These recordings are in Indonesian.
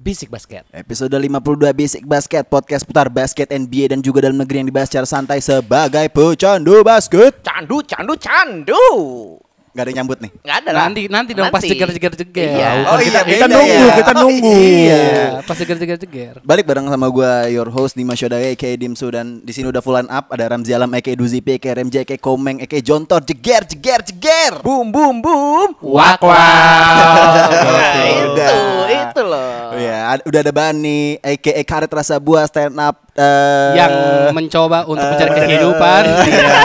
Bisik Basket. Episode 52 Basic Basket Podcast putar basket NBA dan juga dalam negeri yang dibahas secara santai sebagai pecandu basket Candu, candu, candu. Gak ada yang nyambut nih Enggak ada lah. Nanti nanti dong pas jeger-jeger jeger. Iya. Kan Oh, iya, kita beda nunggu, ya. kita Oh, nunggu. iya. pas jeger-jeger jeger. Balik bareng sama gua your host Dimas Yodaya aka Dimsu Dan di sini udah full up Ada Ramzi Alam aka Duzipi aka Remji aka Komeng aka Jontor Jeger jeger jeger Boom, boom, boom. Wak wak. Nah, itu, itu loh. Oh iya, ad- udah ada Bani aka Karet Rasa Buah stand up eh, Yang mencoba untuk mencari kehidupan. Iya,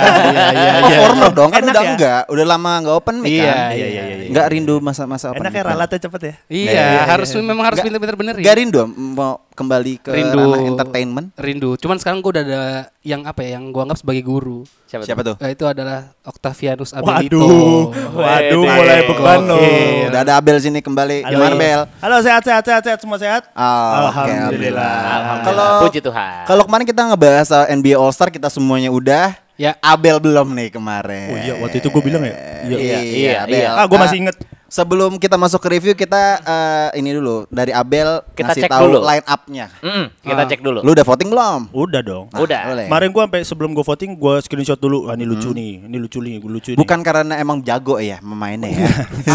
iya, Oh, porno dong kan Enak udah ya? enggak, udah lama enggak open mic Iya, kan. iya, iya, iya, iya. Enggak rindu masa-masa open. Enak ya mic. ralatnya cepet ya. Iya, harus memang harus Nggak- pinter-pinter benerin. Enggak rindu mau kembali ke rindu ranah entertainment. Rindu. Cuman sekarang gua udah ada yang apa ya, yang gua anggap sebagai guru. Siapa tuh? Eh, itu adalah Octavianus Abelito. Waduh, waduh mulai beban loh. Gokil. Udah ada Abel sini kembali. Gimana Bel? Halo sehat sehat sehat sehat semua sehat. Ah, oke, Alhamdulillah. Alhamdulillah. Kalau Puji Tuhan. kalau kemarin kita ngebahas uh, soal NBA All Star kita semuanya udah. Ya. Abel belum nih kemarin. Oh iya, waktu itu gua bilang ya? Iya, iya, Iya. Iya, Abel. Nah, iya. Ah, gua masih inget. Sebelum kita masuk ke review kita eh, ini dulu dari Abel Kita ngasih cek tahu dulu. line up-nya. Mm, kita Ah. cek dulu. Lu udah voting belum? Udah dong. Nah, Udah. boleh. Kemarin gua sampai sebelum gua voting gua screenshot dulu. Wah, ini lucu nih. Ini lucu nih, gua lucu nih. Bukan karena emang jago ya memainnya ya.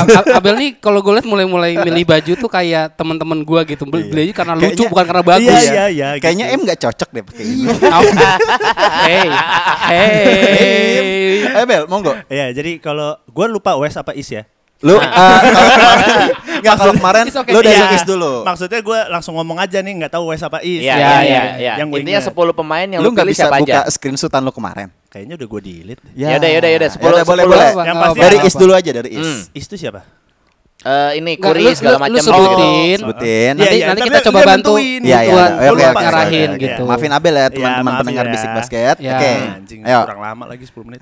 Ab- Ab- Abel nih kalau gue liat mulai-mulai milih baju tuh kayak teman-teman gua gitu. Beli beli aja karena lucu Kayaknya- bukan karena bagus. ya. Iya, iya, iya, Kayaknya gitu. em nggak cocok deh pakai ini. Apa? hey, hey. Eh Bel, monggo. Iya, jadi kalau gua lupa Wes apa Is ya. Lu eh, kalau kemarin, nggak, kalau kemarin It's okay. lu udah Iya. jokis dulu. Maksudnya gua langsung ngomong aja nih, nggak tahu Wes apa Is. Iya, Iya, iya, iya. iya. Yang gua Intinya ingat. 10 pemain yang lu lu nggak pilih bisa siapa buka aja. Ya screenshotan lu kemarin. Ya Kayaknya udah gua delete. Yaudah, yaudah, yaudah. Sepuluh- boleh, sepuluh apa? boleh. Yang Nggak pasti apa-apa. Dari is dulu aja dari is. Hmm. Is itu siapa? Eh, ini Nggak, kuri lu- segala gitu. lu- lu macam sebutin. Ya, Sebutin. Ya, Nanti, Iya, iya, nanti tapi kita dia- coba dia bantu nentuin. Iya, iya. bantuan Oke, oke, buat oke, ngarahin oke, oke. gitu. Maafin Abel ya, teman-teman maaf pendengar ya. bisik basket. Ya. Oke. Ah, Anjing, Ayo. kurang lama lagi 10 menit.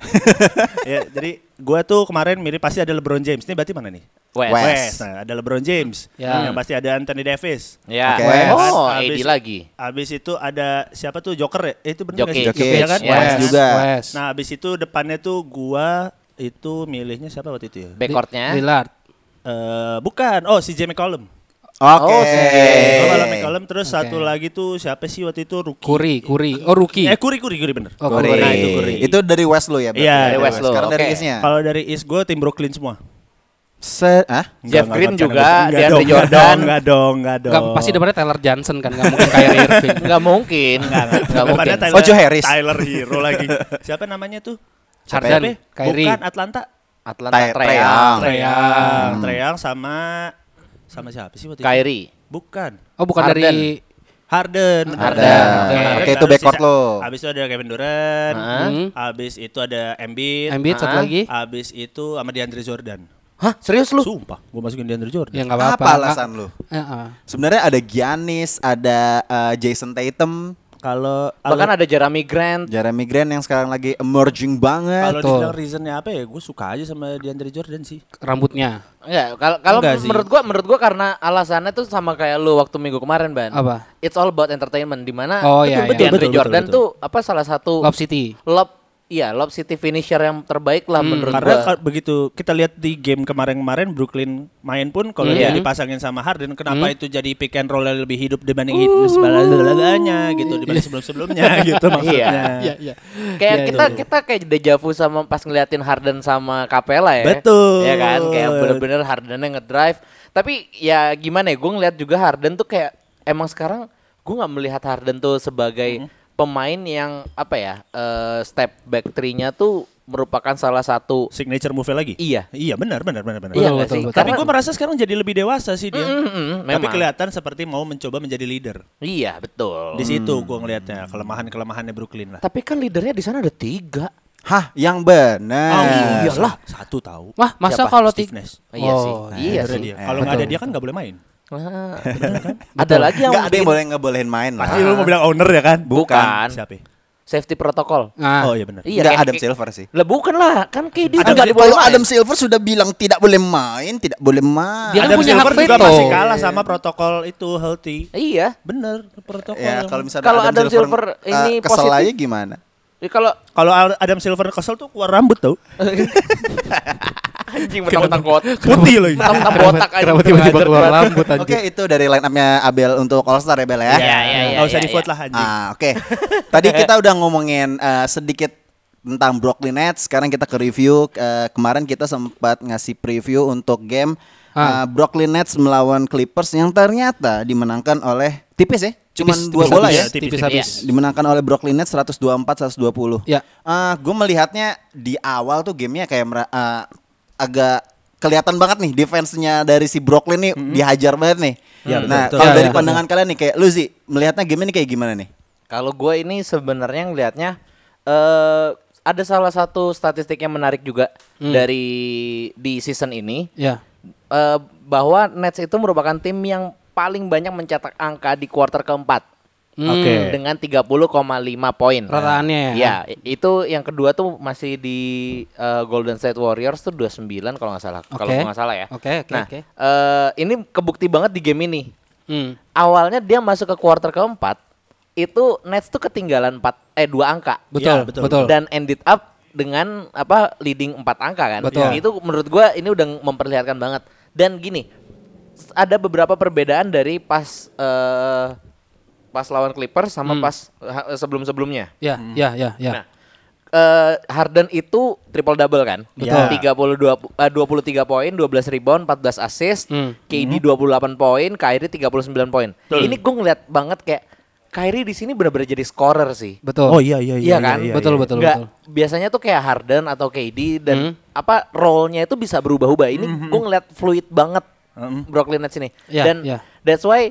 ya, jadi gua tuh kemarin mirip pasti ada LeBron James. Ini berarti mana nih? Wes. Wes. Nah, ada LeBron James. Ya. Yang pasti ada Anthony Davis. Kan Ya. Oke. Oh, Abis- AD lagi. Abis itu ada siapa tuh Joker ya? Eh, itu bener nggak Jokic. sih? Jokic, Iya kan? Wes Wes Wes. juga. Wes. Nah, abis itu depannya tuh gua itu milihnya siapa waktu itu ya? Backcourtnya. Lillard. Eh, bukan. Oh, si Jamie McCollum. Oke. Oke. Oh, Eh. kalau McCollum terus Oke. satu lagi tuh siapa sih waktu itu rookie? Kuri, Kuri. Oh, rookie. Eh, Kuri Kuri Kuri bener. Oh, Kuri. Kuri. Nah, itu Kuri. Itu dari West lu ya? berarti? Iya, dari West lu, Sekarang dari oke. isnya. Kalau dari East gue tim Brooklyn semua. Se ah? Jeff Enggak, Green enggak, juga, enggak, enggak DeAndre dong, enggak Jordan. dong, Enggak dong, enggak dong. Nggak, pasti depannya Taylor Johnson kan nggak mungkin Kyrie Irving. Enggak mungkin. Enggak mungkin. Depannya Tyler, Oh, Joe Harris. Tyler Hero lagi. Siapa namanya tuh? Harden, Siapa ya? Kyrie. Bukan Atlanta. Atlanta Trae- Trae. Trae. Treyang, Treyang sama sama siapa sih waktu itu? Kyrie. Bukan. Oh, bukan Harden. dari Harden. Harden. Oke, itu Terus backcourt sisa- lo. Abis itu ada Kevin Durant. Heeh. Hmm. Abis itu ada Embiid. Embiid satu Ah. lagi. Abis itu sama DeAndre Jordan. Hah, serius lu? Sumpah, gue masukin DeAndre Jordan. Ya nggak Eh, apa-apa. Apa alasan lu? Heeh. Sebenarnya ada Giannis, ada eh, Jason Tatum, Kalau Bahkan ada Jeremy Grant. Jeremy Grant yang sekarang lagi emerging banget. Kalau Betul. dibilang reasonnya apa ya? Gue suka aja sama DeAndre Jordan sih. Rambutnya Enggak, kalau Ya, kalau Enggak sih. menurut gua menurut gua karena alasannya tuh sama kayak lu waktu minggu kemarin, Ban. Apa? It's all about entertainment di mana Oh, iya, betul, iya. DeAndre Betul, betul, Jordan betul. tuh apa salah satu Lob City. lob iya, lob city finisher yang terbaik lah menurut Hmm, Karena gua. ka- begitu kita lihat di game kemarin-kemarin Brooklyn main pun kalau Iya. dia dipasangin sama Harden, kenapa itu jadi pick and roll lebih hidup dibanding hidup sebelahnya gitu dibanding sebelum-sebelumnya gitu maksudnya. Iya, iya. Kayak Iya, kita iya. kita kayak deja vu sama pas ngeliatin Harden sama Capella ya. Betul. Ya kan, kayak bener-bener Hardennya ngedrive. Tapi ya gimana ya, gue ngeliat juga Harden tuh kayak emang sekarang gue nggak melihat Harden tuh sebagai pemain yang apa ya eh, step back three-nya tuh merupakan salah satu. Signature move lagi. Iya. Iya benar benar benar benar. iya betul, nggak betul, sih? betul. Tapi Karena- gue merasa sekarang jadi lebih dewasa sih dia. Mm, mm, mm, Tapi memang. kelihatan seperti mau mencoba menjadi leader. Iya betul. Di situ gue ngelihatnya kelemahan-kelemahannya Brooklyn lah. Tapi kan leadernya di sana ada tiga. Hah, yang benar. Oh, iyalah, Eh, satu tahu. Wah, masa Siapa? kalau Steve tik Nash. Iya sih. Oh, Iya Leadernya sih. dia. Kalau nggak ada dia kan nggak boleh main. Ah, ada lagi yang Nggak ada yang bikin boleh ngebolehin main lah. Pasti lu mau bilang owner ya kan? Bukan. Siapa? ya? safety protokol. Ah, Oh iya benar. Iya, Nggak kayak- Adam Silver sih. Lah bukan lah, kan KD Adam, nggak kalau main. Adam Silver sudah bilang tidak boleh main, tidak boleh main. Dia kan Adam punya Silver hak juga veto. masih kalah sama protokol itu healthy. Iya. Bener protokol. ya, yang- kalau misalnya Oh, Kalau Adam Silver eh, ini kesel positif. aja gimana? Ya, kalau kalau Al- Adam Silver kesel tuh keluar rambut tuh. Anjing mentang-mentang Putih Iya, lagi. Mentang-mentang Kenapa- botak aja. Kenapa tiba-tiba keluar rambut Oke, aja? itu dari line up-nya Abel untuk All Star ya Bel Iya, iya, ya. iya, Gak usah iya, di vote iya. lah anjing. Ah, oke. Tadi kita udah ngomongin eh, sedikit tentang Brooklyn Nets. Sekarang kita ke review. Eh, kemarin kita sempat ngasih preview untuk game Ah. eh, Brooklyn Nets melawan Clippers yang ternyata dimenangkan oleh tipis ya. Cuman Tipis- dua tipis bola habis, ya. Tipis Tipis habis. Dimenangkan oleh Brooklyn Nets 124-120. Ya. gue Eh, melihatnya di awal tuh gamenya kayak mera- eh, agak kelihatan banget nih defense-nya dari si Brooklyn nih dihajar banget nih. Ya, nah, betul. Mm-hmm. kalau Ya, dari ya, pandangan kalian nih kayak lu sih melihatnya game ini kayak gimana nih? Kalau gue ini sebenarnya ngelihatnya eh ada salah satu statistik yang menarik juga dari di season ini Ya. eh, bahwa Nets itu merupakan tim yang paling banyak mencetak angka di kuarter keempat. Hmm. Oke. Dengan 30,5 poin. Rataannya ya? Iya, i- itu yang kedua tuh masih di eh, Golden State Warriors tuh 29 kalau nggak salah. Kalau Oke. nggak salah ya. Oke, oke, Nah, oke. eh, ini kebukti banget di game ini Hmm. awalnya dia masuk ke quarter keempat itu Nets tuh ketinggalan 4 eh dua angka Betul, Iya, betul, betul. dan ended up dengan apa leading empat angka kan Betul. itu menurut gua ini udah memperlihatkan banget dan gini s- ada beberapa perbedaan dari pas eh, pas lawan Clippers sama pas sebelum sebelumnya ya, ya, ya, Hmm. ya. Nah, eh, Harden itu triple double kan? Betul. 32 pu- eh, 23 poin, 12 rebound, 14 assist, Hmm. KD 28 poin, Kyrie 39 poin. Ini gue ngeliat banget kayak Kyrie di sini benar-benar jadi scorer sih. Betul. Oh iya iya iya. Iya kan? Betul, betul, Nggak, betul. Hmm. biasanya tuh kayak Harden atau KD dan apa role-nya itu bisa berubah-ubah. Ini gue ngeliat fluid banget Brooklyn Nets ini. Iya, dan iya. that's why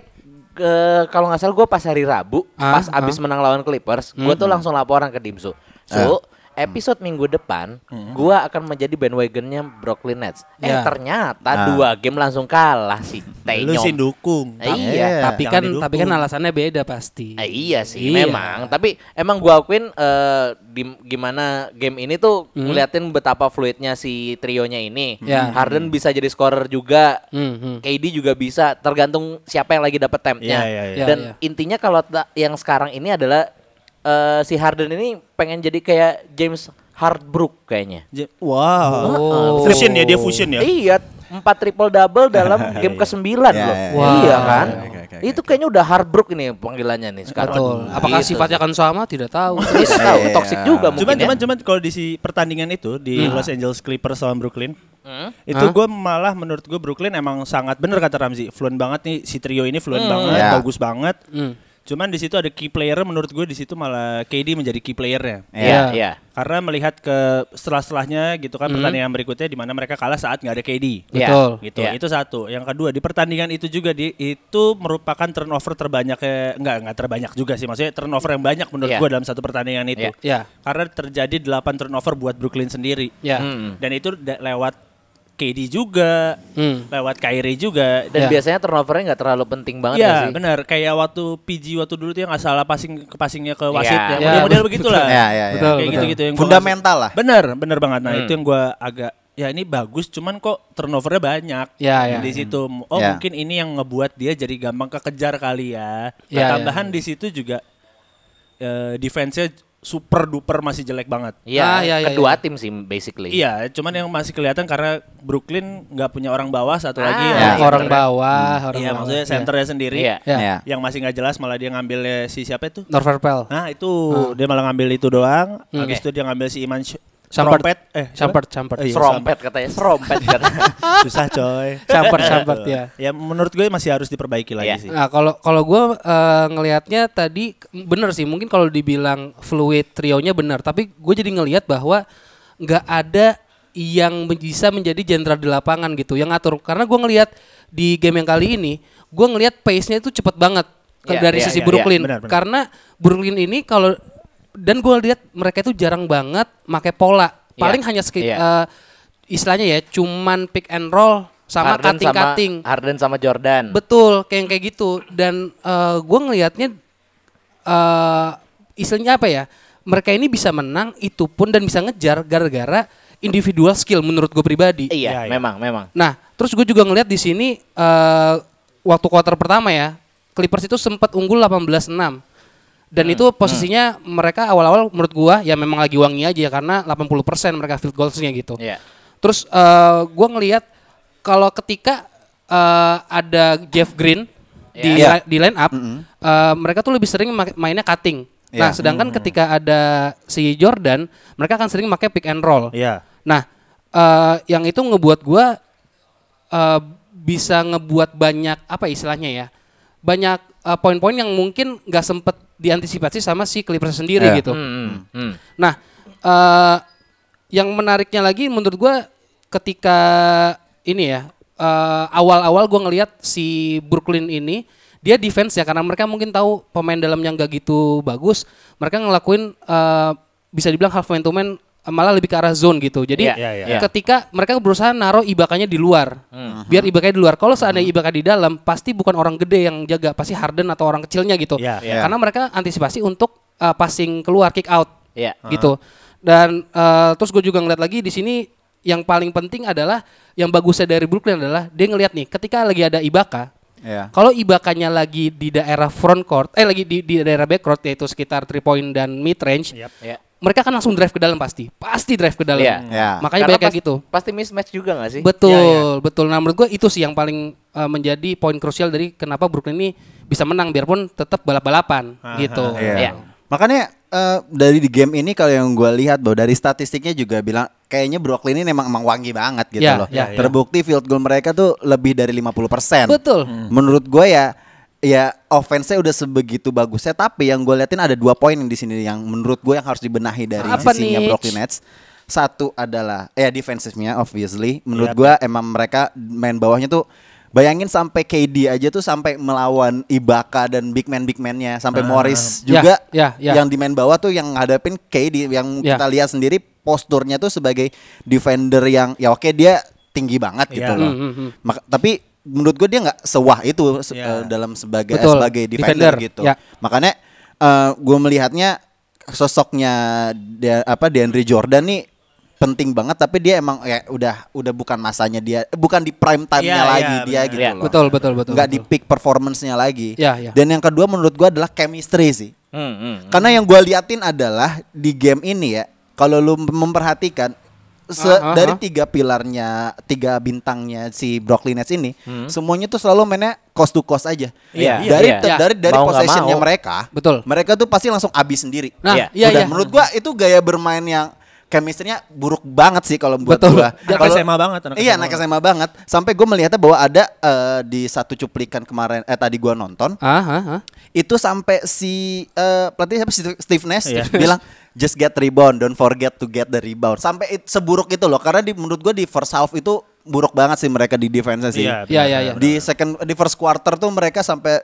ke- kalau nggak salah gue pas hari Rabu Ah, Hmm, pas abis menang lawan Clippers, gue tuh langsung laporan ke Dimsu. So episode minggu depan gue akan menjadi bandwagonnya Brooklyn Nets. Eh Iya. ternyata dua game langsung kalah sih. Lu Tenyong. sih dukung. Eh, Tapi- iya. Tapi Jangan kan didukung. tapi kan alasannya beda pasti. Eh, iya sih Iya. memang. Tapi emang gua akuin eh, di- gimana game ini tuh ngeliatin betapa fluidnya si trionya ini. Ya. Harden bisa jadi scorer juga. Hmm, hmm. KD juga bisa tergantung siapa yang lagi dapet tempnya. Iya, iya, iya. Dan Iya, intinya kalau ta- yang sekarang ini adalah eh, si Harden ini pengen jadi kayak James Hardbrook kayaknya. J- Wow. Oh. Fusion ya dia fusion ya. Ah, Iya, empat triple double dalam game ke sembilan Iya, loh. iya, iya. Iya Wow. kan? Oke, oke, oke, Itu kayaknya udah Hardbrook ini panggilannya nih sekarang. Betul. Apakah Gitu. sifatnya akan sama tidak tahu. Dia Terus tahu Iya. toxic juga mungkin Cuman ya. Hmm. cuman cuman kalau di si pertandingan itu di Los Angeles Clippers lawan Brooklyn itu Hah? gue malah menurut gue Brooklyn emang sangat bener kata Ramzi fluent banget nih si trio ini fluent Hmm. banget Ya. bagus banget cuman di situ ada key player menurut gue di situ malah KD menjadi key playernya Iya, Iya. iya. karena melihat ke setelah-setelahnya gitu kan pertandingan berikutnya di mana mereka kalah saat nggak ada KD Mhm. Iya. Betul. gitu Iya. itu satu yang kedua di pertandingan itu juga di itu merupakan turnover terbanyak enggak enggak terbanyak juga sih maksudnya turnover yang banyak menurut Iya. gue dalam satu pertandingan itu Iya. Iya. karena terjadi 8 turnover buat Brooklyn sendiri Iya. Ya. Hmm. dan itu da- lewat KD juga Hmm. Mhm. lewat Kyrie juga Dan Iya. biasanya turnovernya nggak terlalu penting banget ya Iya sih. benar kayak waktu PG waktu dulu tuh yang nggak salah passing ke passingnya ke wasit Iya. Iya, ya model-model betul. begitulah Ya, ya, ya. Betul, kayak betul. gitu-gitu yang gua Fundamental lah. maksud. bener bener banget nah itu yang gue agak ya ini bagus cuman kok turnovernya banyak Iya, iya. di situ oh Iya. mungkin ini yang ngebuat dia jadi gampang kekejar kali ya Iya, Nah, tambahan di situ juga eh, defense-nya super duper masih jelek banget Iya, Ah, iya, iya, kedua iya. tim sih basically. Iya, cuman yang masih kelihatan karena Brooklyn nggak punya orang bawah satu Ah, lagi. yang Orang- Orang centernya. bawah, orang Iya, bawah. maksudnya Iya. senternya sendiri. Iya. Ya. Ya. Yang masih nggak jelas malah dia ngambil eh, si siapa itu? Norver Pell. Nah, itu dia malah ngambil itu doang. Habis Oke. itu dia ngambil si Iman Sh- Shumpert. Trompet. eh siapa? Shumpert, Shumpert. Oh, iya, Serompet katanya, serompet iya. katanya. Shumpert. Susah, coy. Shumpert, Shumpert, ya. Ya menurut gue masih harus diperbaiki lagi Iya. sih. Nah, kalau kalau gua eh, ngelihatnya tadi k- bener sih, mungkin kalau dibilang fluid trionya benar, tapi gue jadi ngelihat bahwa nggak ada yang men- bisa menjadi jenderal di lapangan gitu yang ngatur. Karena gua ngelihat di game yang kali ini, gua ngelihat pace-nya itu cepet banget ke- Iya, iya, dari sisi iya, Brooklyn. iya, benar, benar. Karena Brooklyn ini kalau dan gua lihat mereka itu jarang banget make pola. Iya, Paling hanya skip, iya. eh, istilahnya ya, cuman pick and roll sama Harden cutting-cutting. sama Harden sama Jordan. Betul, kayak kayak gitu. Dan eh, gua gue ngelihatnya eh istilahnya apa ya? Mereka ini bisa menang itu pun dan bisa ngejar gara-gara individual skill menurut gue pribadi. iya, Iya, iya. memang, memang. Nah, terus gue juga ngelihat di sini eh waktu kuarter pertama ya, Clippers itu sempat unggul 18-6. Dan Hmm. itu posisinya mereka awal-awal menurut gua ya memang lagi wangi aja ya karena 80% mereka field goals-nya gitu. Iya. Terus eh, gua ngelihat kalau ketika eh, ada Jeff Green di Iya. li- di line up, eh, mereka tuh lebih sering ma- mainnya cutting. Nah, Iya. sedangkan ketika ada si Jordan, mereka akan sering pakai pick and roll. Iya. Nah, eh, yang itu ngebuat gua eh, bisa ngebuat banyak apa istilahnya ya, banyak eh, poin-poin yang mungkin nggak sempet diantisipasi sama si Clippers sendiri Iya. gitu. Hmm, hmm. Nah, eh, yang menariknya lagi menurut gua ketika ini ya eh, awal-awal gua ngelihat si Brooklyn ini dia defense ya karena mereka mungkin tahu pemain dalamnya nggak gitu bagus, mereka ngelakuin eh, bisa dibilang half man to man eh, malah lebih ke arah zone gitu. Jadi Iya, iya, iya. Hmm. ketika mereka berusaha naruh ibakanya di luar, biar ibakanya di luar. Kalau seandainya ibaka di dalam, pasti bukan orang gede yang jaga, pasti Harden atau orang kecilnya gitu. Iya, iya. Karena mereka antisipasi untuk eh, passing keluar, kick out Iya. Ah. gitu. Dan eh, terus gue juga ngeliat lagi di sini yang paling penting adalah yang bagusnya dari Brooklyn adalah dia ngeliat nih ketika lagi ada Ibaka. Iya. Kalau Ibakanya lagi di daerah front court, eh lagi di, di daerah back court yaitu sekitar 3 point dan mid range, Yap. Iya. mereka kan langsung drive ke dalam pasti. Pasti drive ke dalam. Iya. Iya. Makanya Karena banyak kayak pas- Iya, gitu. Pasti mismatch juga gak sih? Betul, betul. Nah, menurut gue itu sih yang paling eh, menjadi poin krusial dari kenapa Brooklyn ini bisa menang biarpun tetap balap-balapan gitu. Iya. Iya. Makanya eh, dari di game ini kalau yang gua lihat bahwa dari statistiknya juga bilang kayaknya Brooklyn ini memang emang wangi banget gitu Iya, loh. iya. iya, Terbukti field goal mereka tuh lebih dari 50%. Betul. Menurut gua ya ya offense-nya udah sebegitu bagusnya tapi yang gue liatin ada dua poin di sini yang menurut gue yang harus dibenahi dari Apa sisinya nih? Brooklyn Nets. Satu adalah ya defensive-nya obviously. Menurut Iya. gua emang mereka main bawahnya tuh bayangin sampai KD aja tuh sampai melawan Ibaka dan big man big man-nya sampai Morris Ya, juga ya, ya. yang di main bawah tuh yang ngadepin KD yang Ya. kita lihat sendiri posturnya tuh sebagai defender yang ya oke dia tinggi banget gitu Ya. loh. Hmm, hmm, hmm. Maka- tapi menurut gue dia nggak sewah itu se- Ya. eh, dalam sebagai Betul, sebagai defender, defender, gitu. ya. Makanya gue melihatnya sosoknya dia, apa DeAndre Jordan nih penting banget tapi dia emang ya udah udah bukan masanya dia bukan di prime time-nya Ya, ya, lagi dia benar. gitu Ya. loh. Betul, betul, betul. Nggak di betul. peak performance-nya lagi. Ya, ya. Dan yang kedua menurut gua adalah chemistry sih. Hmm, hmm. Karena yang gue liatin adalah di game ini ya, kalau lu memperhatikan se- Ah, ah, dari ah. tiga pilarnya, tiga bintangnya si Brooklyn Nets ini, semuanya tuh selalu mainnya cost to cost aja. Hmm. Iya, iya, dari iya. te- Iya. dari dari Mau nggak possessionnya mau. mereka, Betul. Mereka tuh pasti langsung abis sendiri. Nah, Iya. iya Udah, iya. menurut gua itu gaya bermain yang chemistry-nya buruk banget sih kalau buat Betul. gua. Anak Kalau- SMA banget, anak Iya, SMA anak SMA banget. Sampai gua melihatnya bahwa ada eh, di satu cuplikan kemarin eh tadi gua nonton, Ah, ah, ah. itu sampai si eh pelatih siapa Steve- Steve Nash Iya. bilang just get rebound don't forget to get the rebound sampai it- seburuk itu loh karena di, menurut gue di first half itu buruk banget sih mereka di defense sih Iya, Iya, iya, iya. di second di first quarter tuh mereka sampai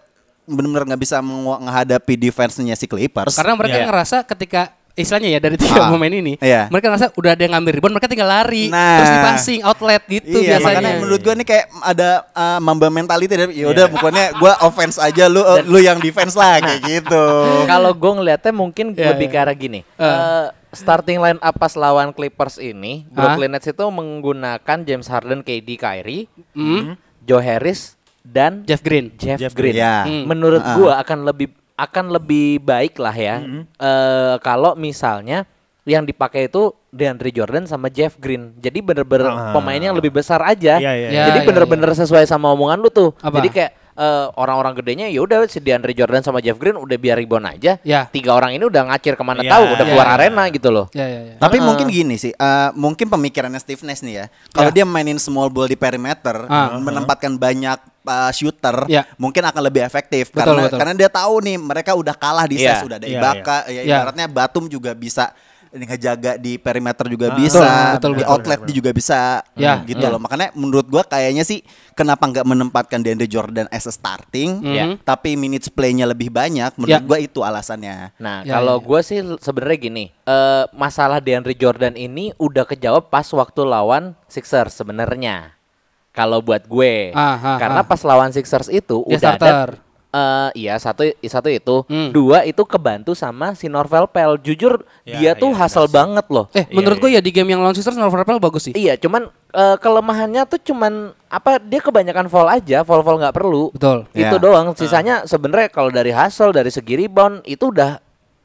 benar-benar nggak bisa mengu- menghadapi defense-nya si Clippers Karena mereka Iya. ngerasa ketika istilahnya ya dari tiga Ah, pemain ini, iya. mereka ngerasa udah ada yang ngambil rebound, mereka tinggal lari, Nah. terus di passing outlet gitu iya, biasanya. makanya menurut gue ini kayak ada eh, mamba mentality dari Iya. yaudah pokoknya gue offense aja lu eh, lu yang defense lah kayak gitu Kalau gue ngelihatnya mungkin Iya, lebih iya. ke arah gini. Eh, starting line up pas lawan Clippers ini, Hah? Brooklyn Nets itu menggunakan James Harden, KD, Kyrie, Hmm, Joe Harris dan Jeff Green. Jeff, Jeff Green. Green. Ya. Hmm. Menurut Ah. gua akan lebih akan lebih baik lah ya. Hmm. eh, kalau misalnya yang dipakai itu DeAndre Jordan sama Jeff Green. Jadi bener-bener Ah. pemain yang lebih besar aja. Iya, iya, iya. Jadi Ya, ya, bener-bener sesuai sama omongan lu tuh. Apa? Jadi kayak eh, orang-orang gedenya ya udah si DeAndre Jordan sama Jeff Green udah biar rebound aja. Ya. Tiga orang ini udah ngacir kemana Ya, tahu, udah ya, keluar ya. arena gitu loh. Ya ya ya. Tapi Heeh. mungkin gini sih, eh, mungkin pemikirannya Steve Nash nih ya. Kalau Ya. dia mainin small ball di perimeter, Ah. menempatkan banyak eh, shooter, Ya. mungkin akan lebih efektif Betul, karena betul. karena dia tahu nih mereka udah kalah di Iya. ses, udah ada Iya, Ibaka, ya Iya. ibaratnya Batum juga bisa ngejaga di perimeter juga Ah, bisa, betul, betul, di betul. outlet dia juga bisa, Ya, gitu ya. loh. Makanya menurut gua kayaknya sih kenapa nggak menempatkan DeAndre Jordan as a starting, Mhm. tapi minutes play-nya lebih banyak, menurut Ya. gua itu alasannya. Nah, Ya, kalau ya, ya. gue sih l- sebenarnya gini, eh masalah DeAndre Jordan ini udah kejawab pas waktu lawan Sixers sebenarnya. Kalau buat gue, Ah, ah, karena ah. pas lawan Sixers itu Dia udah starter. ada eh, iya satu satu itu, Hmm. dua itu kebantu sama si Norvel Pel. Jujur Ya, dia tuh iya, hasil banget loh. Eh, Iya, iya. menurut gue ya di game yang lawan Sixers North Rappel bagus sih. Iya, cuman eh, kelemahannya tuh cuman apa dia kebanyakan foul aja, foul-foul nggak perlu. Betul. Itu Ya. Iya. doang. Ah. Sisanya sebenarnya kalau dari hasil dari segi rebound itu udah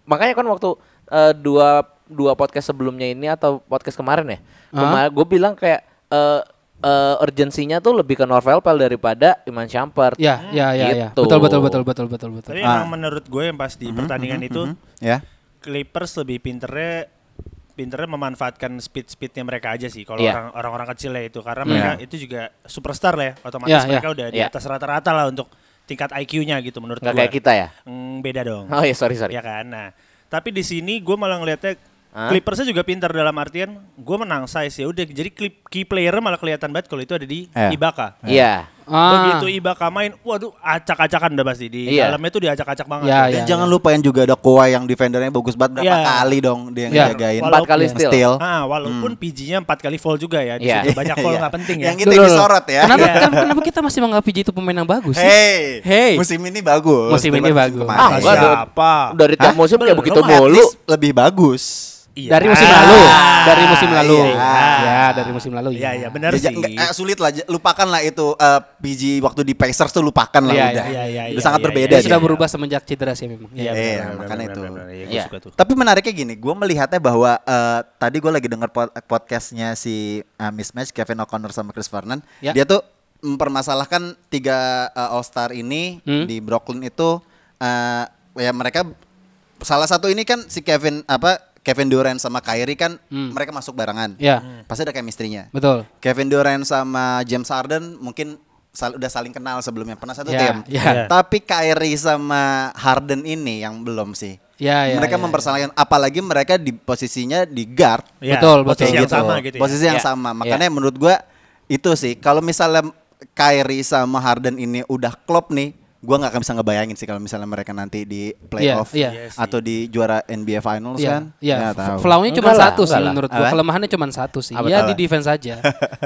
makanya kan waktu eh, dua dua podcast sebelumnya ini atau podcast kemarin ya. Kemarin gue bilang kayak eh eh, urgensinya tuh lebih ke Norvel Pel daripada Iman Shumpert. Ya, ya, ya, ya. Gitu. Betul, betul, betul, betul, betul, betul. Tapi Ah. emang menurut gue yang pasti pertandingan itu ya. Clippers lebih pinternya pinternya memanfaatkan speed speednya mereka aja sih kalau Iya. orang orang-orang kecil ya itu karena mereka itu juga superstar lah ya otomatis Iya, iya. mereka udah di Iya. atas rata-rata lah untuk tingkat IQ-nya gitu menurut Nggak gue. kayak kita ya? Mm, beda dong. Oh ya sorry sorry. Ya kan. Nah, tapi di sini gue malah ngeliatnya Hah? Clippersnya juga pintar dalam artian gue menang size ya udah jadi clip key player malah kelihatan banget kalau itu ada di Eh. Ibaka. Iya. Ah, Begitu Ibaka main, waduh acak-acakan udah pasti di Iya. dalamnya tuh diacak-acak banget. Ya, Tuh. Dan ya. jangan lupain juga ada Kawhi yang defendernya bagus banget berapa Iya. kali dong dia Iya. ngejagain. Empat kali Steal. steal. Ah, walaupun PG-nya empat kali foul juga ya. Di Iya. situ banyak foul Iya. nggak penting ya. Yang kita yang disorot ya. kenapa, kan- kenapa kita masih menganggap PJ itu pemain yang bagus sih? Hey, Hey. musim ini bagus. Musim ini daripada bagus. kemarin. Ah, Nah, gua ada- siapa? Dari tiap Hah? musim kayak Belum, begitu At least mulu. lebih bagus. Iya. Dari musim Ah, lalu, dari musim lalu. iya. Ya, dari musim lalu. Iya, iya benar Ya, sih. nggak- eh, sulit lah, j- lupakan lah itu eh, PG waktu di Pacers tuh lupakan lah Iya, udah. iya, iya, Udah iya, sangat iya, berbeda. Dia iya, dia. sudah berubah semenjak cedera sih memang. Iya. Iya, Iya, benar, benar, makanya benar, itu. benar, benar. Iya, Iya. gua suka tuh. Tapi menariknya gini, gue melihatnya bahwa eh, tadi gue lagi denger pod- podcastnya si eh, Mismatch Kevin O'Connor sama Chris Vernon, Ya. dia tuh mempermasalahkan tiga eh, All Star ini Hmm. di Brooklyn itu eh, ya mereka salah satu ini kan si Kevin apa Kevin Durant sama Kyrie kan mereka masuk barengan, Hmm. Ya. pasti ada chemistry-nya. Betul. Kevin Durant sama James Harden mungkin sal- udah saling kenal sebelumnya pernah satu Ya, tim. ya. Tapi Kyrie sama Harden ini yang belum sih. Ya, ya, mereka ya, mempersalahkan apalagi mereka di posisinya di guard. Iya, Betul, betul. posisi Kayak yang sama gitu ya. Posisi yang Ya, sama. Makanya menurut gua itu sih kalau misalnya Kyrie sama Harden ini udah klop nih, gua nggak akan bisa ngebayangin sih kalau misalnya mereka nanti di playoff iya. Iya sih. atau di juara NBA Finals Iya, kan. iya. Nggak tahu. Flaw-nya cuma Enggak lah, satu sih enggak lah. menurut gua. Apa? Kelemahannya cuma satu sih. Apa ya tuh? di defense aja.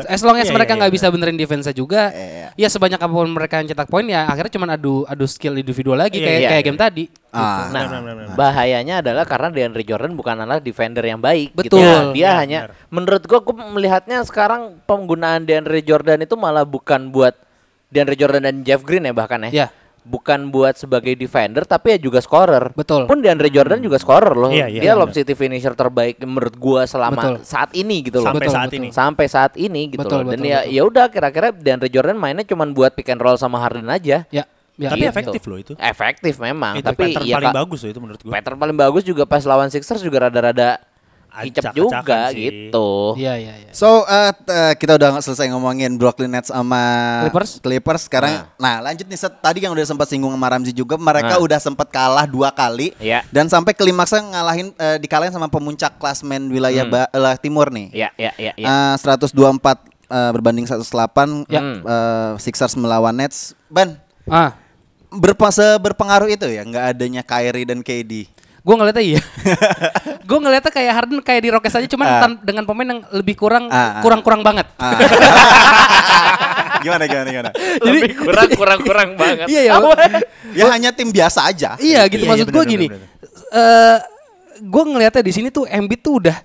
As long as Iya, mereka iya, nggak iya, bisa benerin defense juga, ya sebanyak apapun mereka yang cetak poin ya akhirnya cuma adu adu skill individual lagi Iya, kayak iya, kayak iya. game tadi. Ah. Nah, Benar, benar, benar. bahayanya adalah karena DeAndre Jordan bukan adalah defender yang baik. gitu. Betul. Ya, Dia Iya, hanya, benar. menurut gua, gua melihatnya sekarang penggunaan DeAndre Jordan itu malah bukan buat DeAndre Jordan dan Jeff Green ya bahkan ya. Iya. Bukan buat sebagai defender tapi ya juga scorer. Betul. Pun DeAndre Jordan juga scorer loh. Iya, iya, Dia benar. lob city finisher terbaik menurut gua selama Betul. saat ini gitu loh. Sampai Betul, saat betul. ini. Sampai saat ini gitu Betul, loh. Dan betul, ya betul. ya udah kira-kira DeAndre Jordan mainnya cuman buat pick and roll sama Harden aja. Ya. ya. Gitu. Tapi efektif loh itu. Efektif memang, Iya. Itu tapi pattern ya paling Kak, bagus loh itu menurut gue. Pattern paling bagus juga pas lawan Sixers juga rada-rada kicep Acak-acakan juga sih. gitu. Iya, iya, iya. So eh, t- eh, kita udah selesai ngomongin Brooklyn Nets sama Clippers? sekarang. Nah, lanjut nih Set. tadi yang udah sempat singgung sama Ramzi juga Nah. mereka udah sempat kalah dua kali Iya. dan sampai klimaksnya ngalahin eh, dikalahin sama pemuncak klasmen wilayah Ba- eh, timur nih. Iya, Ya, ya, ya, ya. Eh, 124 eh, berbanding 108 Ya. eh, Sixers melawan Nets. Ban, Ah, berpasa berpengaruh itu ya nggak adanya Kyrie dan KD. Gue ngeliatnya iya. gue ngeliatnya kayak Harden kayak di Rockets aja, cuman Ah. tan- dengan pemain yang lebih kurang Ah, ah. kurang-kurang banget. Ah. gimana gimana gimana. Lebih kurang kurang kurang banget. Iya, iya. Ya hanya tim biasa aja. Iya gitu Iya, maksud iya, gue bener, gini. bener, Eh gue ngeliatnya di sini tuh Embiid tuh udah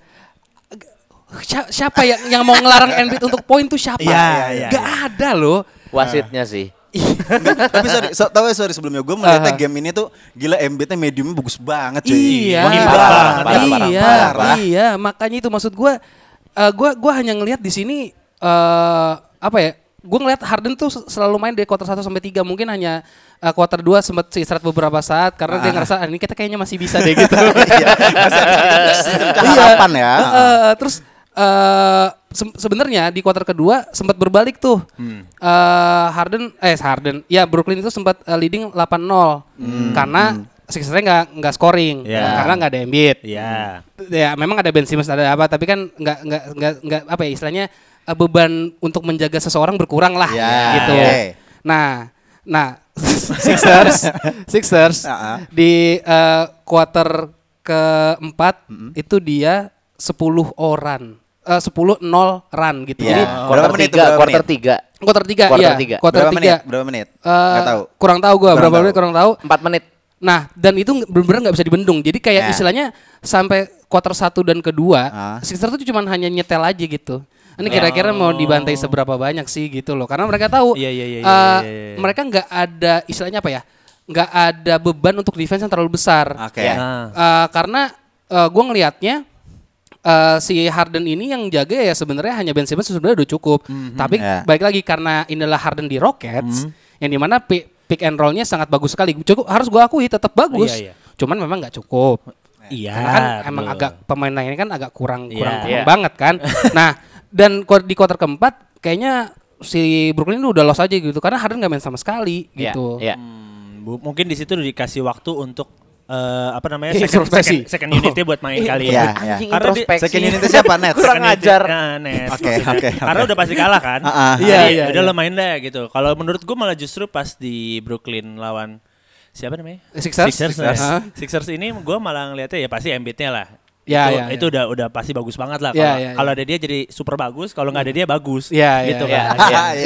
Sia- siapa yang yang mau ngelarang Embiid untuk poin tuh siapa? Iya, iya, Gak ada loh. Wasitnya sih. Enggak, tapi sorry, so, tapi sorry sebelumnya gue melihatnya Aha. game ini tuh gila Embiidnya mediumnya bagus banget cuy. Iya. Gila. Parah, parah, iya, parah, iya, parah. iya, makanya itu maksud gua eh, gua gua hanya ngelihat di sini eh apa ya? Gua ngelihat Harden tuh se- selalu main dari quarter 1 sampai 3, mungkin hanya eh, quarter 2 sempat istirahat beberapa saat karena dia ngerasa "Ah, ini kita kayaknya masih bisa deh gitu. Iya, masih ada Iya. sedikit harapan ya. Eh, Ah. eh, terus eh se- sebenarnya di kuarter kedua sempat berbalik tuh. Hmm. Eh, Harden eh Harden. Ya Brooklyn itu sempat eh, leading 8-0 karena Sixers-nya nggak nggak scoring Hmm. Ya. karena nggak ada Embiid. Iya. Ya memang ada Ben Simmons ada apa tapi kan nggak nggak nggak nggak apa ya istilahnya eh, beban untuk menjaga seseorang berkurang lah Ya, gitu. oke. Nah, nah Sixers Sixers Ah, ah. di eh, quarter keempat itu dia 10 orang. Eh 10-0 run gitu. Iya. Jadi Berapa Quarter menit tuh, tiga, berapa quarter menit? tiga. quarter 3 Quarter ya. tiga. Quarter berapa 3. menit? Berapa menit? Eh, Nggak tahu. Kurang tahu gua Kurang berapa tahu. menit kurang tahu. Empat menit. Nah, dan itu nge- bener-bener nggak bisa dibendung. Jadi kayak Ya. istilahnya sampai quarter 1 dan Ah. kedua, Sixers tuh cuman hanya nyetel aja gitu. Ya Ini kira-kira mau dibantai seberapa banyak sih gitu loh. Karena mereka tahu Iya, iya, iya, eh, iya, iya, iya. mereka nggak ada istilahnya apa ya? nggak ada beban untuk defense yang terlalu besar. Oke. Ya. Nah, Eh, karena eh, gua gue ngelihatnya eh, si Harden ini yang jaga ya sebenarnya hanya Ben Simmons sebenarnya udah cukup. Mhm. Tapi ya. baik lagi karena inilah Harden di Rockets yang dimana pi- pick and rollnya sangat bagus sekali. Cukup harus gua akui tetap bagus. Iya, iya. Cuman memang nggak cukup. Iya. Karena kan emang betul. agak pemain lainnya kan agak kurang kurang, kurang Iya. Iya. banget kan. nah, dan ku- di kuarter keempat kayaknya si Brooklyn udah los aja gitu karena Harden nggak main sama sekali Iya, gitu. Iya. Hmm, bu- mungkin di situ dikasih waktu untuk eh, apa namanya Iya, second, introspeksi. second, second unitnya buat main kali Iya, ya. iya. Anjing Karena di- introspeksi. second unitnya siapa, Nets? Kurang Second ajar. unit- Nah, Nets, Oke, maksudnya. oke, Karena oke. udah pasti kalah kan. Ah, ah. Iya, Jadi, iya, Udah iya. lo main deh gitu. Kalau menurut gue malah justru pas di Brooklyn lawan siapa namanya? Sixers? Sixers, Sixers. ya. Ah. Sixers ini gue malah ngeliatnya ya pasti Embiidnya lah. Ya, itu, ya, itu udah udah pasti bagus banget lah. Ya, ya, Kalau ya. kalau ada dia jadi super bagus, kalau nggak ada dia bagus. Ya, ya, gitu ya. kan. Iya. Iya, kan? Ah,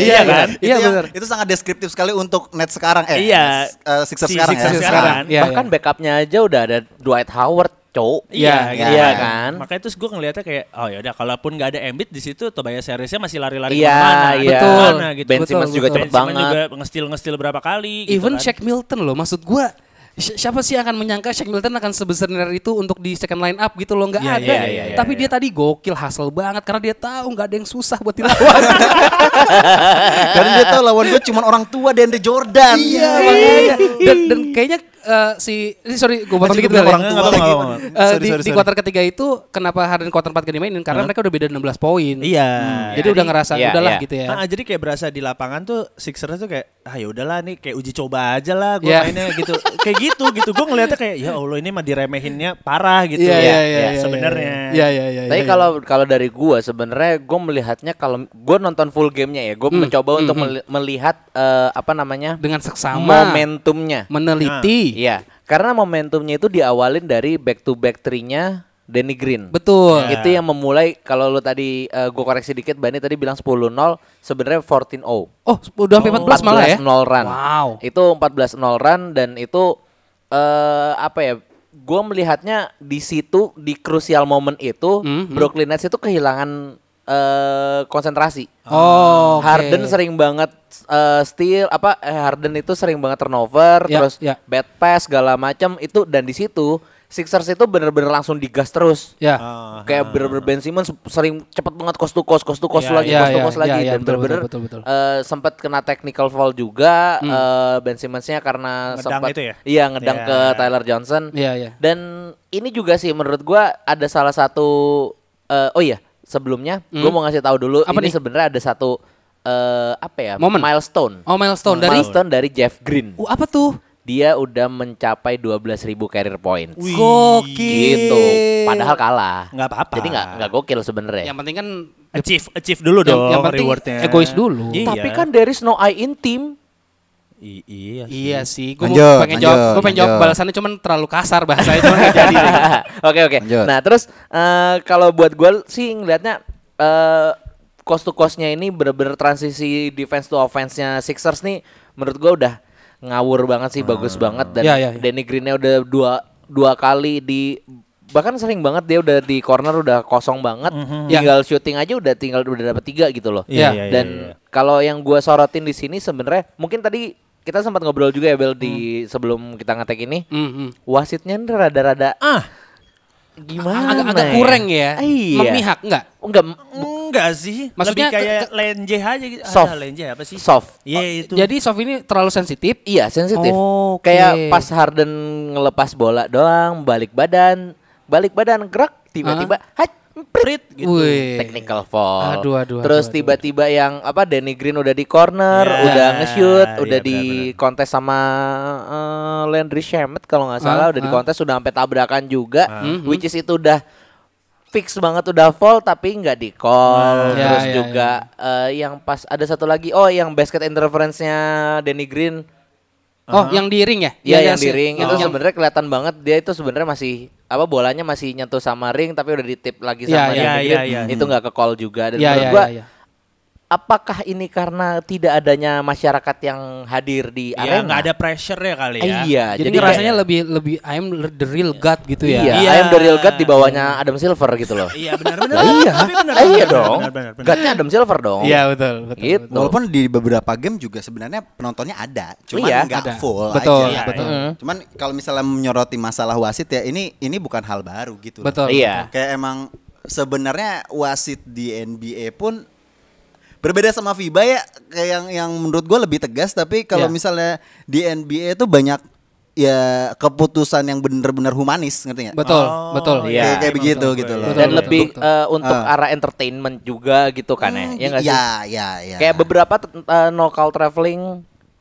Itu, Iya, yang- benar. itu sangat deskriptif sekali untuk net sekarang eh Iya. Nets, eh, Sixers Si sekarang Sixers ya. sekarang. Iya, Bahkan iya. backupnya aja udah ada Dwight Howard, cowok. Iya, gitu. iya. iya kan. Makanya terus gue ngeliatnya kayak oh ya udah kalaupun nggak ada Embiid di situ Tobias Harrisnya masih lari-lari Iya, kemana-mana, iya. kemana-mana gitu. Ben Betul, Simmons juga betul. Ben cepet Simmons banget. juga ngestil-ngestil berapa kali gitu Even kan. Shaq Milton loh, maksud gua si- siapa sih yang akan menyangka Shaq Milton akan sebesar itu untuk di second line up gitu loh nggak Iya, ada. iya, iya, iya, Tapi dia tadi gokil hasil banget karena dia tahu nggak ada yang susah buat dilawan. Karena dia tahu lawan gue cuma orang tua dan The Jordan. Iya makanya. Dan, dan kayaknya eh, si ini sorry gue potong Masih dikit gua bilang kali ya. orang tua Nggak lagi. apa-apa, nggak Eh, Sorry, di, sorry, di sorry. kuarter ketiga itu kenapa Harden kuarter 4 gak dimainin karena mereka udah beda 16 poin. Iya. Hmm, Jadi udah ngerasa iya, udahlah iya. gitu ya. Ah, jadi kayak berasa di lapangan tuh Sixers tuh kayak ah ya udahlah nih kayak uji coba aja lah gue Iya. mainnya gitu. kayak gitu gitu. Gue ngeliatnya kayak ya Allah ini mah diremehinnya parah gitu. Iya iya iya ya, iya, sebenarnya. Iya iya iya. Tapi iya. kalau kalau dari gua sebenarnya gua melihatnya kalau gua nonton full gamenya ya, gua mencoba untuk meli- melihat eh, apa namanya dengan seksama momentumnya. meneliti. Iya, karena momentumnya itu diawalin dari back to back three-nya Danny Green. Betul. Itu yang memulai kalau lu tadi eh, gua koreksi dikit Bani tadi bilang 10-0, sebenarnya 14-0. Oh, udah sampai 14 malah ya. 14-0 run. Wow. Itu 14-0 run dan itu eh apa ya? Gue melihatnya di situ di crucial moment itu Mhm. Brooklyn Nets itu kehilangan eh konsentrasi. Oh, oke. Ah, Harden sering banget eh, steal apa eh, Harden itu sering banget turnover Ya, terus ya. bad pass segala macam itu dan di situ Sixers itu bener-bener langsung digas terus. Ya. Kayak bener-bener Ben Simmons sering cepet banget cost to cost, cost to cost Iya, lagi, iya, cost to iya, cost lagi iya, dan betul, bener-bener betul, betul, Hmm. betul. eh, sempat kena technical foul juga eh, Ben Simmonsnya karena Ngedang sempat itu ya? iya ngedang Iya. ke Tyler Johnson. gitu Iya, iya. Dan ini juga sih menurut gua ada salah satu eh, oh iya, sebelumnya gua mau ngasih tahu dulu Hmm. Apa ini nih? sebenarnya ada satu eh, apa ya? Momen. milestone. Oh, milestone dari Milestone dari Jeff Green. Uh, apa tuh? Dia udah mencapai 12.000 career points. Gokil. Gitu. Padahal ya. kalah. Nggak apa-apa. Jadi nggak nggak gokil sebenarnya. Yang penting kan Achieve achieve dulu Yang- dong yang penting rewardnya. egois dulu. Iya. Tapi kan there is no I in team. I- iya. sih. Iya sih, gue Lanjut, pengen jawab, lanjut, gue pengen jawab lanjut. balasannya cuman terlalu kasar bahasanya cuman Iya, nggak jadi. Oke oke. Lanjut. Nah terus eh, kalau buat gue sih ngelihatnya eh cost to costnya ini bener-bener transisi defense to offense-nya Sixers nih menurut gue udah ngawur banget sih bagus banget dan Ya, ya, ya. Danny Green-nya udah dua dua kali di bahkan sering banget dia udah di corner udah kosong banget Ya. tinggal shooting aja udah tinggal udah dapet tiga gitu loh Iya, iya, dan iya, iya. kalau yang gua sorotin di sini sebenarnya mungkin tadi kita sempat ngobrol juga ya Bel Hmm. di sebelum kita ngetek ini Mm, mm. wasitnya ini rada-rada Ah, gimana Agak agak kurang ya, iya memihak enggak? enggak m- enggak sih. Maksudnya Lebih kayak ke- lenjeh aja gitu. Soft. Ah, lenjeh apa sih? soft Oh, Iya, itu. Jadi Sof ini terlalu sensitif. iya sensitif Oh, oke. kayak pas Harden ngelepas bola doang balik badan balik badan gerak tiba-tiba hat prit gitu Wih. technical foul Aduh, aduh, aduh, terus aduh, tiba-tiba yang apa Danny Green udah di corner Ya, udah nge-shoot iya, udah di benar-benar. kontes sama eh, Landry Shamet kalau nggak salah Ah, udah di ah. kontes udah sampai tabrakan juga Mhm. which is itu udah fix banget udah fall tapi nggak di call Ah. Ya, terus ya, juga eh, yang pas ada satu lagi oh yang basket interference-nya Danny Green Oh, yang di ring ya? ya, Iya, yang sih. di ring itu Oh. sebenarnya kelihatan banget dia itu sebenarnya masih apa bolanya masih nyentuh sama ring tapi udah ditip lagi Ya, sama ya, Danny ya, Green. ya. itu nggak ke call juga dan Iya, menurut iya, gua iya, iya. apakah ini karena tidak adanya masyarakat yang hadir di Iya, ya arena nggak ada pressure ya kali ya. Ah, iya Jadi, jadi kayak- rasanya lebih lebih I'm the real god gitu ya. iya Iya. I am the real god di bawahnya Adam Silver gitu loh Iya benar-benar. Lah iya Tapi benar, Eh, iya benar, dong benar, benar, benar. godnya Adam Silver dong Iya, betul, betul. gitu Walaupun di beberapa game juga sebenarnya penontonnya ada, cuman Iya, nggak ada. full Nah, Betul, aja. Iya. betul. Cuman kalau misalnya menyoroti masalah wasit ya ini ini bukan hal baru gitu. loh. Betul. Iya. Kayak emang sebenarnya wasit di NBA pun berbeda sama FIBA ya kayak yang yang menurut gue lebih tegas tapi kalau Iya. misalnya di NBA itu banyak ya keputusan yang bener-bener humanis ngerti nggak? Betul, Oh, betul. Kayak- iya. kayak begitu gitu loh. Betul, Dan betul, lebih betul. Ah, eh, untuk Ah. arah entertainment juga gitu kan ya. Ya iya. nggak sih? ya, ya, ya. Kayak beberapa tet- eh, no call traveling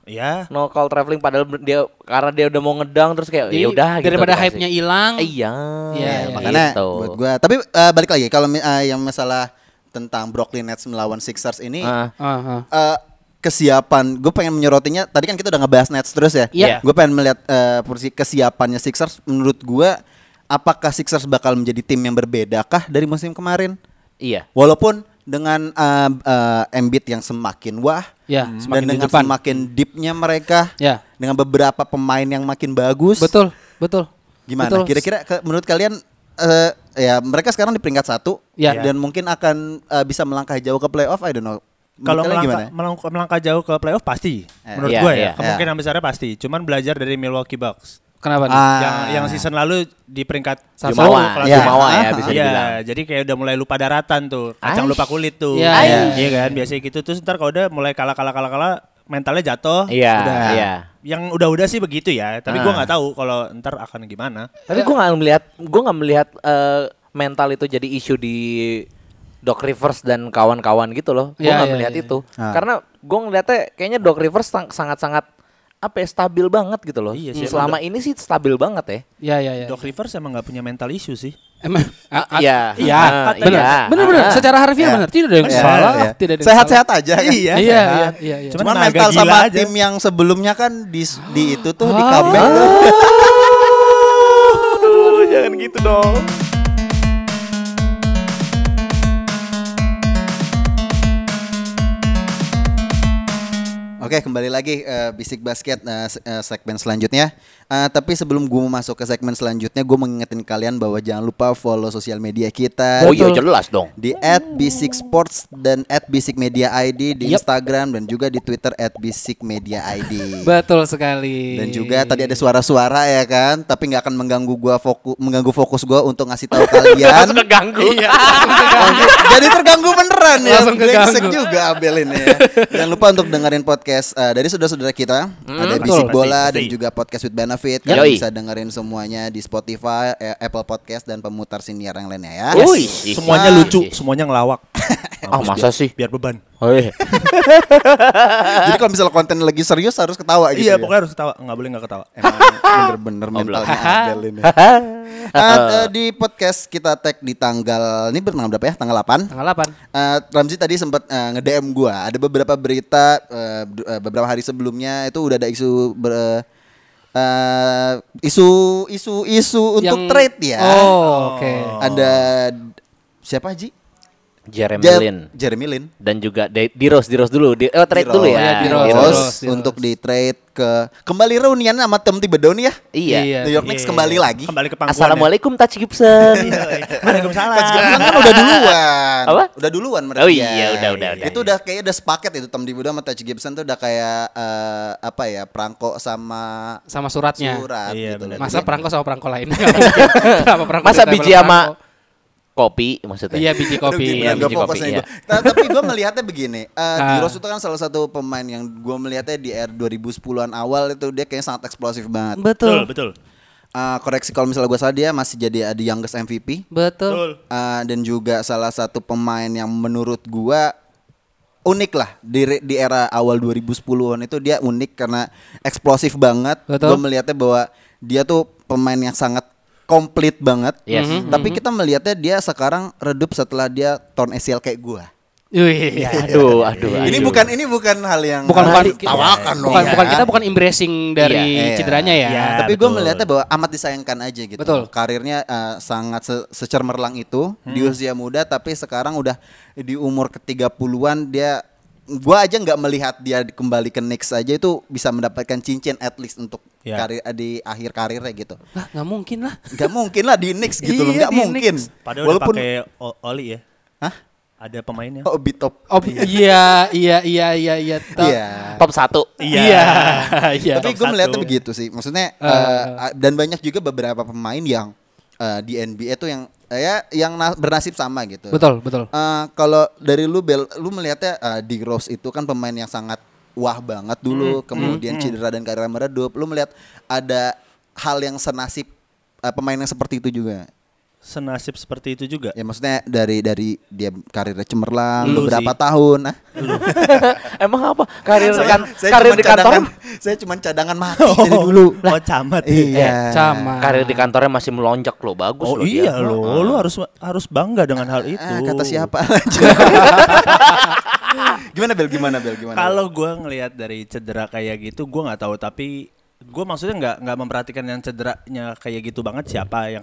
Ya. no call traveling padahal ber- dia karena dia udah mau ngedang terus kayak Jadi ya udah gitu daripada dikasih. hype-nya hilang. Iya. Iya, Ya, iya, makanya gitu. buat gua tapi eh, balik lagi kalau mi- eh, yang masalah tentang Brooklyn Nets melawan Sixers ini Ah. Aha. eh, kesiapan gue pengen menyorotinya tadi kan kita udah ngebahas Nets terus ya Iya. gue pengen melihat eh, porsi kesiapannya Sixers menurut gua apakah Sixers bakal menjadi tim yang berbeda kah dari musim kemarin Iya. walaupun dengan eh, eh, Embiid yang semakin wah Ya, dan semakin di dengan depan. semakin deepnya mereka Ya. dengan beberapa pemain yang makin bagus Betul, betul. Gimana? Betul. Kira-kira ke- menurut kalian eh, ya mereka sekarang di peringkat satu Ya. dan mungkin akan eh, bisa melangkah jauh ke playoff. I don't know. Menurut Kalau kalian melangkah, melangkah, melangkah jauh ke playoff pasti, Eh, menurut iya, gua iya. ya kemungkinan besarnya pasti. Cuman belajar dari Milwaukee Bucks Kenapa nih? Ah, yang yang season lalu di peringkat satu Jumawa, kelas iya. Jumawa. Jumawa ya Ah, bisa Iya, dibilang. jadi kayak udah mulai lupa daratan tuh, kacang Aish. lupa kulit tuh. Iya, Iya, iya. Iya kan, biasanya gitu terus ntar kalau udah mulai kalah kalah kalah kalah mentalnya jatuh. Iya, udah. iya. Yang udah-udah sih begitu ya, Ah. tapi gua nggak tahu kalau ntar akan gimana. Tapi gua nggak melihat gua nggak melihat eh, mental itu jadi isu di Doc Rivers dan kawan-kawan gitu loh. Gua Iya, nggak iya, melihat iya. itu. Ah. Karena gua ngeliatnya kayaknya Doc Rivers sang- sangat-sangat apa ya, stabil banget gitu loh. Iya sih, Selama ini sih stabil banget ya. Ya, ya, ya. Doc Rivers emang nggak punya mental issue sih. Emang a- a- Iya. Iya, Ah, benar. iya. Benar, benar. Ah. Secara harfiah benar. Tidak ada yang Iya, salah, iya. tidak ada yang Sehat-sehat aja kan? Iya, iya, iya, iya, iya. Cuman Cuman naga mental gila sama aja. tim yang sebelumnya kan di, di itu tuh Ah. di comeback tuh. jangan gitu dong. Oke, kembali lagi eh, Bisik Basket eh, se- eh, segmen selanjutnya. Eh, tapi sebelum gue masuk ke segmen selanjutnya, gue mengingetin kalian bahwa jangan lupa follow sosial media kita. Oh iya jelas dong. di @bisiksports dan @bisikmediaid di Yep. Instagram dan juga di Twitter @bisikmediaid. Betul sekali. Dan juga tadi ada suara-suara ya kan, tapi nggak akan mengganggu gua fokus mengganggu fokus gua untuk ngasih tahu kalian. Oh, Langsung keganggu. Jadi terganggu beneran ya. Langsung Brengsek keganggu. juga Abel ini ya. Jangan lupa untuk dengerin podcast eh, dari saudara-saudara kita. ada betul. Bisik Bola dan Pasti, pasti. juga podcast with benefit. Kalian Yoi. bisa dengerin semuanya di Spotify, eh, Apple Podcast dan pemutar siniar yang lainnya ya. Wih, Semuanya ah. lucu, iya. semuanya ngelawak. Ah, masa sih? Biar beban. Jadi kalau misalnya konten lagi serius harus ketawa gitu. Iya, ya? pokoknya harus ketawa, nggak boleh nggak ketawa. Emang bener-bener mentalnya Abel ini. Ah, eh, di podcast kita tag di tanggal ini bertanggal berapa ya? Tanggal 8. tanggal 8. Eh, Ramzi tadi sempat eh, nge-DM gua. Ada beberapa berita eh, d- eh, beberapa hari sebelumnya itu udah ada isu ber- eh, isu isu isu untuk Yang- trade ya. Oh, oke. Ada d- siapa Ji? Jeremy Jer- Lin Jeremy Lin. dan juga De- Diros Diros dulu. Di oh, trade Di dulu Rose. ya. Di Di Rose. Rose Rose, di Rose. untuk di trade ke kembali reunian sama tim Thibodeau nih ya. Iya. Iya. New York Knicks kembali lagi. Kembali ke Iya, pangkuan. Assalamualaikum Taj Gibson. Coach Waalaikumsalam. Gilang kan udah duluan. Apa? Udah duluan mereka. Oh iya, udah, udah, udah. Itu udah kayaknya udah sepaket itu Tom Dibuda sama Taj Gibson tuh udah kayak eh, apa ya, perangko sama Sama suratnya. surat Iya, gitu. loh. benar. Masa perangko sama perangko lain? Nggak mungkin. Kenapa perangko Masa ditempel biji sama perangko? kopi maksudnya? Iya, biji Aduh, kopi. gimana Iya, nggak biji fokus kopi, nih iya. gua. Ta- Tapi gue melihatnya begini, eh Ah. Diros itu kan salah satu pemain yang gue melihatnya di era 2010-an awal itu dia kayaknya sangat eksplosif banget. Betul. betul. Eh, koreksi kalau misalnya gue salah dia masih jadi eh, the youngest MVP. Betul. Betul. Uh, dan juga salah satu pemain yang menurut gua unik lah di di era awal 2010-an itu dia unik karena eksplosif banget. Betul. Gua melihatnya bahwa dia tuh pemain yang sangat komplit banget. Yes. Mhm. Tapi kita melihatnya dia sekarang redup setelah dia torn ACL kayak gua. Wih. Aduh, aduh. Iya, Ini aduh. bukan ini bukan hal yang Iya. Bukan bukan tawakan dong. bukan, ya. bukan kita bukan embracing dari Iya, iya. cederanya ya. Iya. tapi gue betul. melihatnya bahwa amat disayangkan aja gitu. Betul. Karirnya eh, sangat se- secemerlang itu di Hmm. usia muda tapi sekarang udah di umur ke-30-an dia gua aja nggak melihat dia kembali ke Knicks aja itu bisa mendapatkan cincin at least untuk Ya. karir eh, di akhir karirnya gitu. Lah, nggak mungkin lah. Gak mungkin lah di Knicks gitu loh, Iya, gak di mungkin. Knicks. Padahal Walaupun udah pakai o- oli ya. Hah? Ada pemainnya. Oh, Bitop. Oh, iya, iya, iya, iya, iya. Tau. Iya. top satu. Iya. Iya. Tapi gue satu. eh, melihatnya begitu sih. Maksudnya eh, dan banyak juga beberapa pemain yang eh, di NBA tuh yang eh, ya yang na- bernasib sama gitu. Betul, betul. Eh, kalau dari lu Bel, lu melihatnya di Rose itu kan pemain yang sangat wah banget dulu, kemudian cedera dan karirnya meredup. Lu melihat ada hal yang senasib eh, pemain yang seperti itu juga. Senasib seperti itu juga. Ya maksudnya dari dari dia karirnya cemerlang Lu beberapa sih. tahun. ah. Emang apa? Karir Saya- kan saya karir cuman di kantor cadangan- Saya cuma cadangan mati dari iya, dulu. Oh, camat ya. Iya. Sama. karir di kantornya masih melonjak loh, bagus Oh loh dia. iya loh, lu harus harus bangga dengan hal itu. Ah, kata siapa? gimana Bel? Gimana Bel? Gimana? Kalau gue ngelihat dari cedera kayak gitu, gue nggak tahu. Tapi gue maksudnya nggak nggak memperhatikan yang cederanya kayak gitu banget siapa yang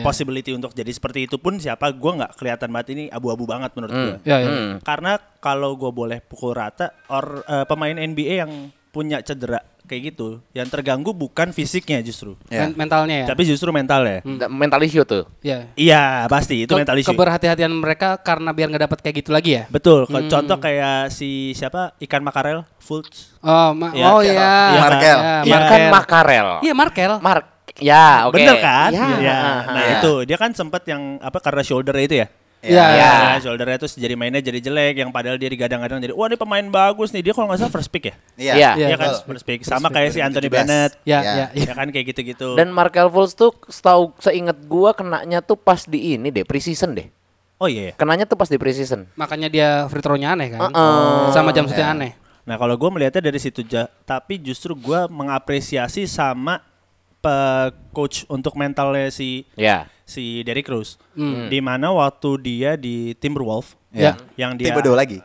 ya, ya. possibility untuk jadi seperti itu pun siapa gue nggak kelihatan banget ini abu-abu banget menurut gue. Ya, ya. Karena kalau gue boleh pukul rata, or eh, pemain NBA yang punya cedera kayak gitu, yang terganggu bukan fisiknya justru, Ya. Men- mentalnya ya. tapi justru mentalnya. Da- Mental issue tuh. ya. Iya pasti itu Ke- mental issue. Keberhati-hatian mereka karena biar nggak dapat kayak gitu lagi ya. Betul. Kalau Contoh kayak si siapa ikan makarel, Fultz. Oh, ma- Ya. oh ya. Iya, Markel. Ya, Iya. Kan Makarel. Iya, Markel. Mark. Ya, oke. Bener kan? Ya. Iya. Nah itu dia kan sempat yang apa karena shoulder itu ya. Iya. Ya. Nah, shouldernya terus jadi mainnya jadi jelek yang padahal dia digadang-gadang jadi wah ini pemain bagus nih dia kalau nggak salah first pick ya. Iya. Iya, Iya kan betul. first pick sama kayak si Anthony Bennett. Ya, Ya. ya, ya. Ya kan kayak gitu-gitu. Dan Markel Fultz tuh setahu seingat gua kenanya tuh pas di ini deh, preseason deh. oh iya. ya. Kenanya tuh pas di preseason. Makanya dia free throw-nya aneh kan. Heeh. Sama jam shoot-nya aneh. Nah, kalau gue melihatnya dari situ ja, tapi justru gua mengapresiasi sama pe- coach untuk mentalnya si Ya. si Derrick Rose. Di mana waktu dia di Timberwolves Ya. yang dia Tipe dua lagi.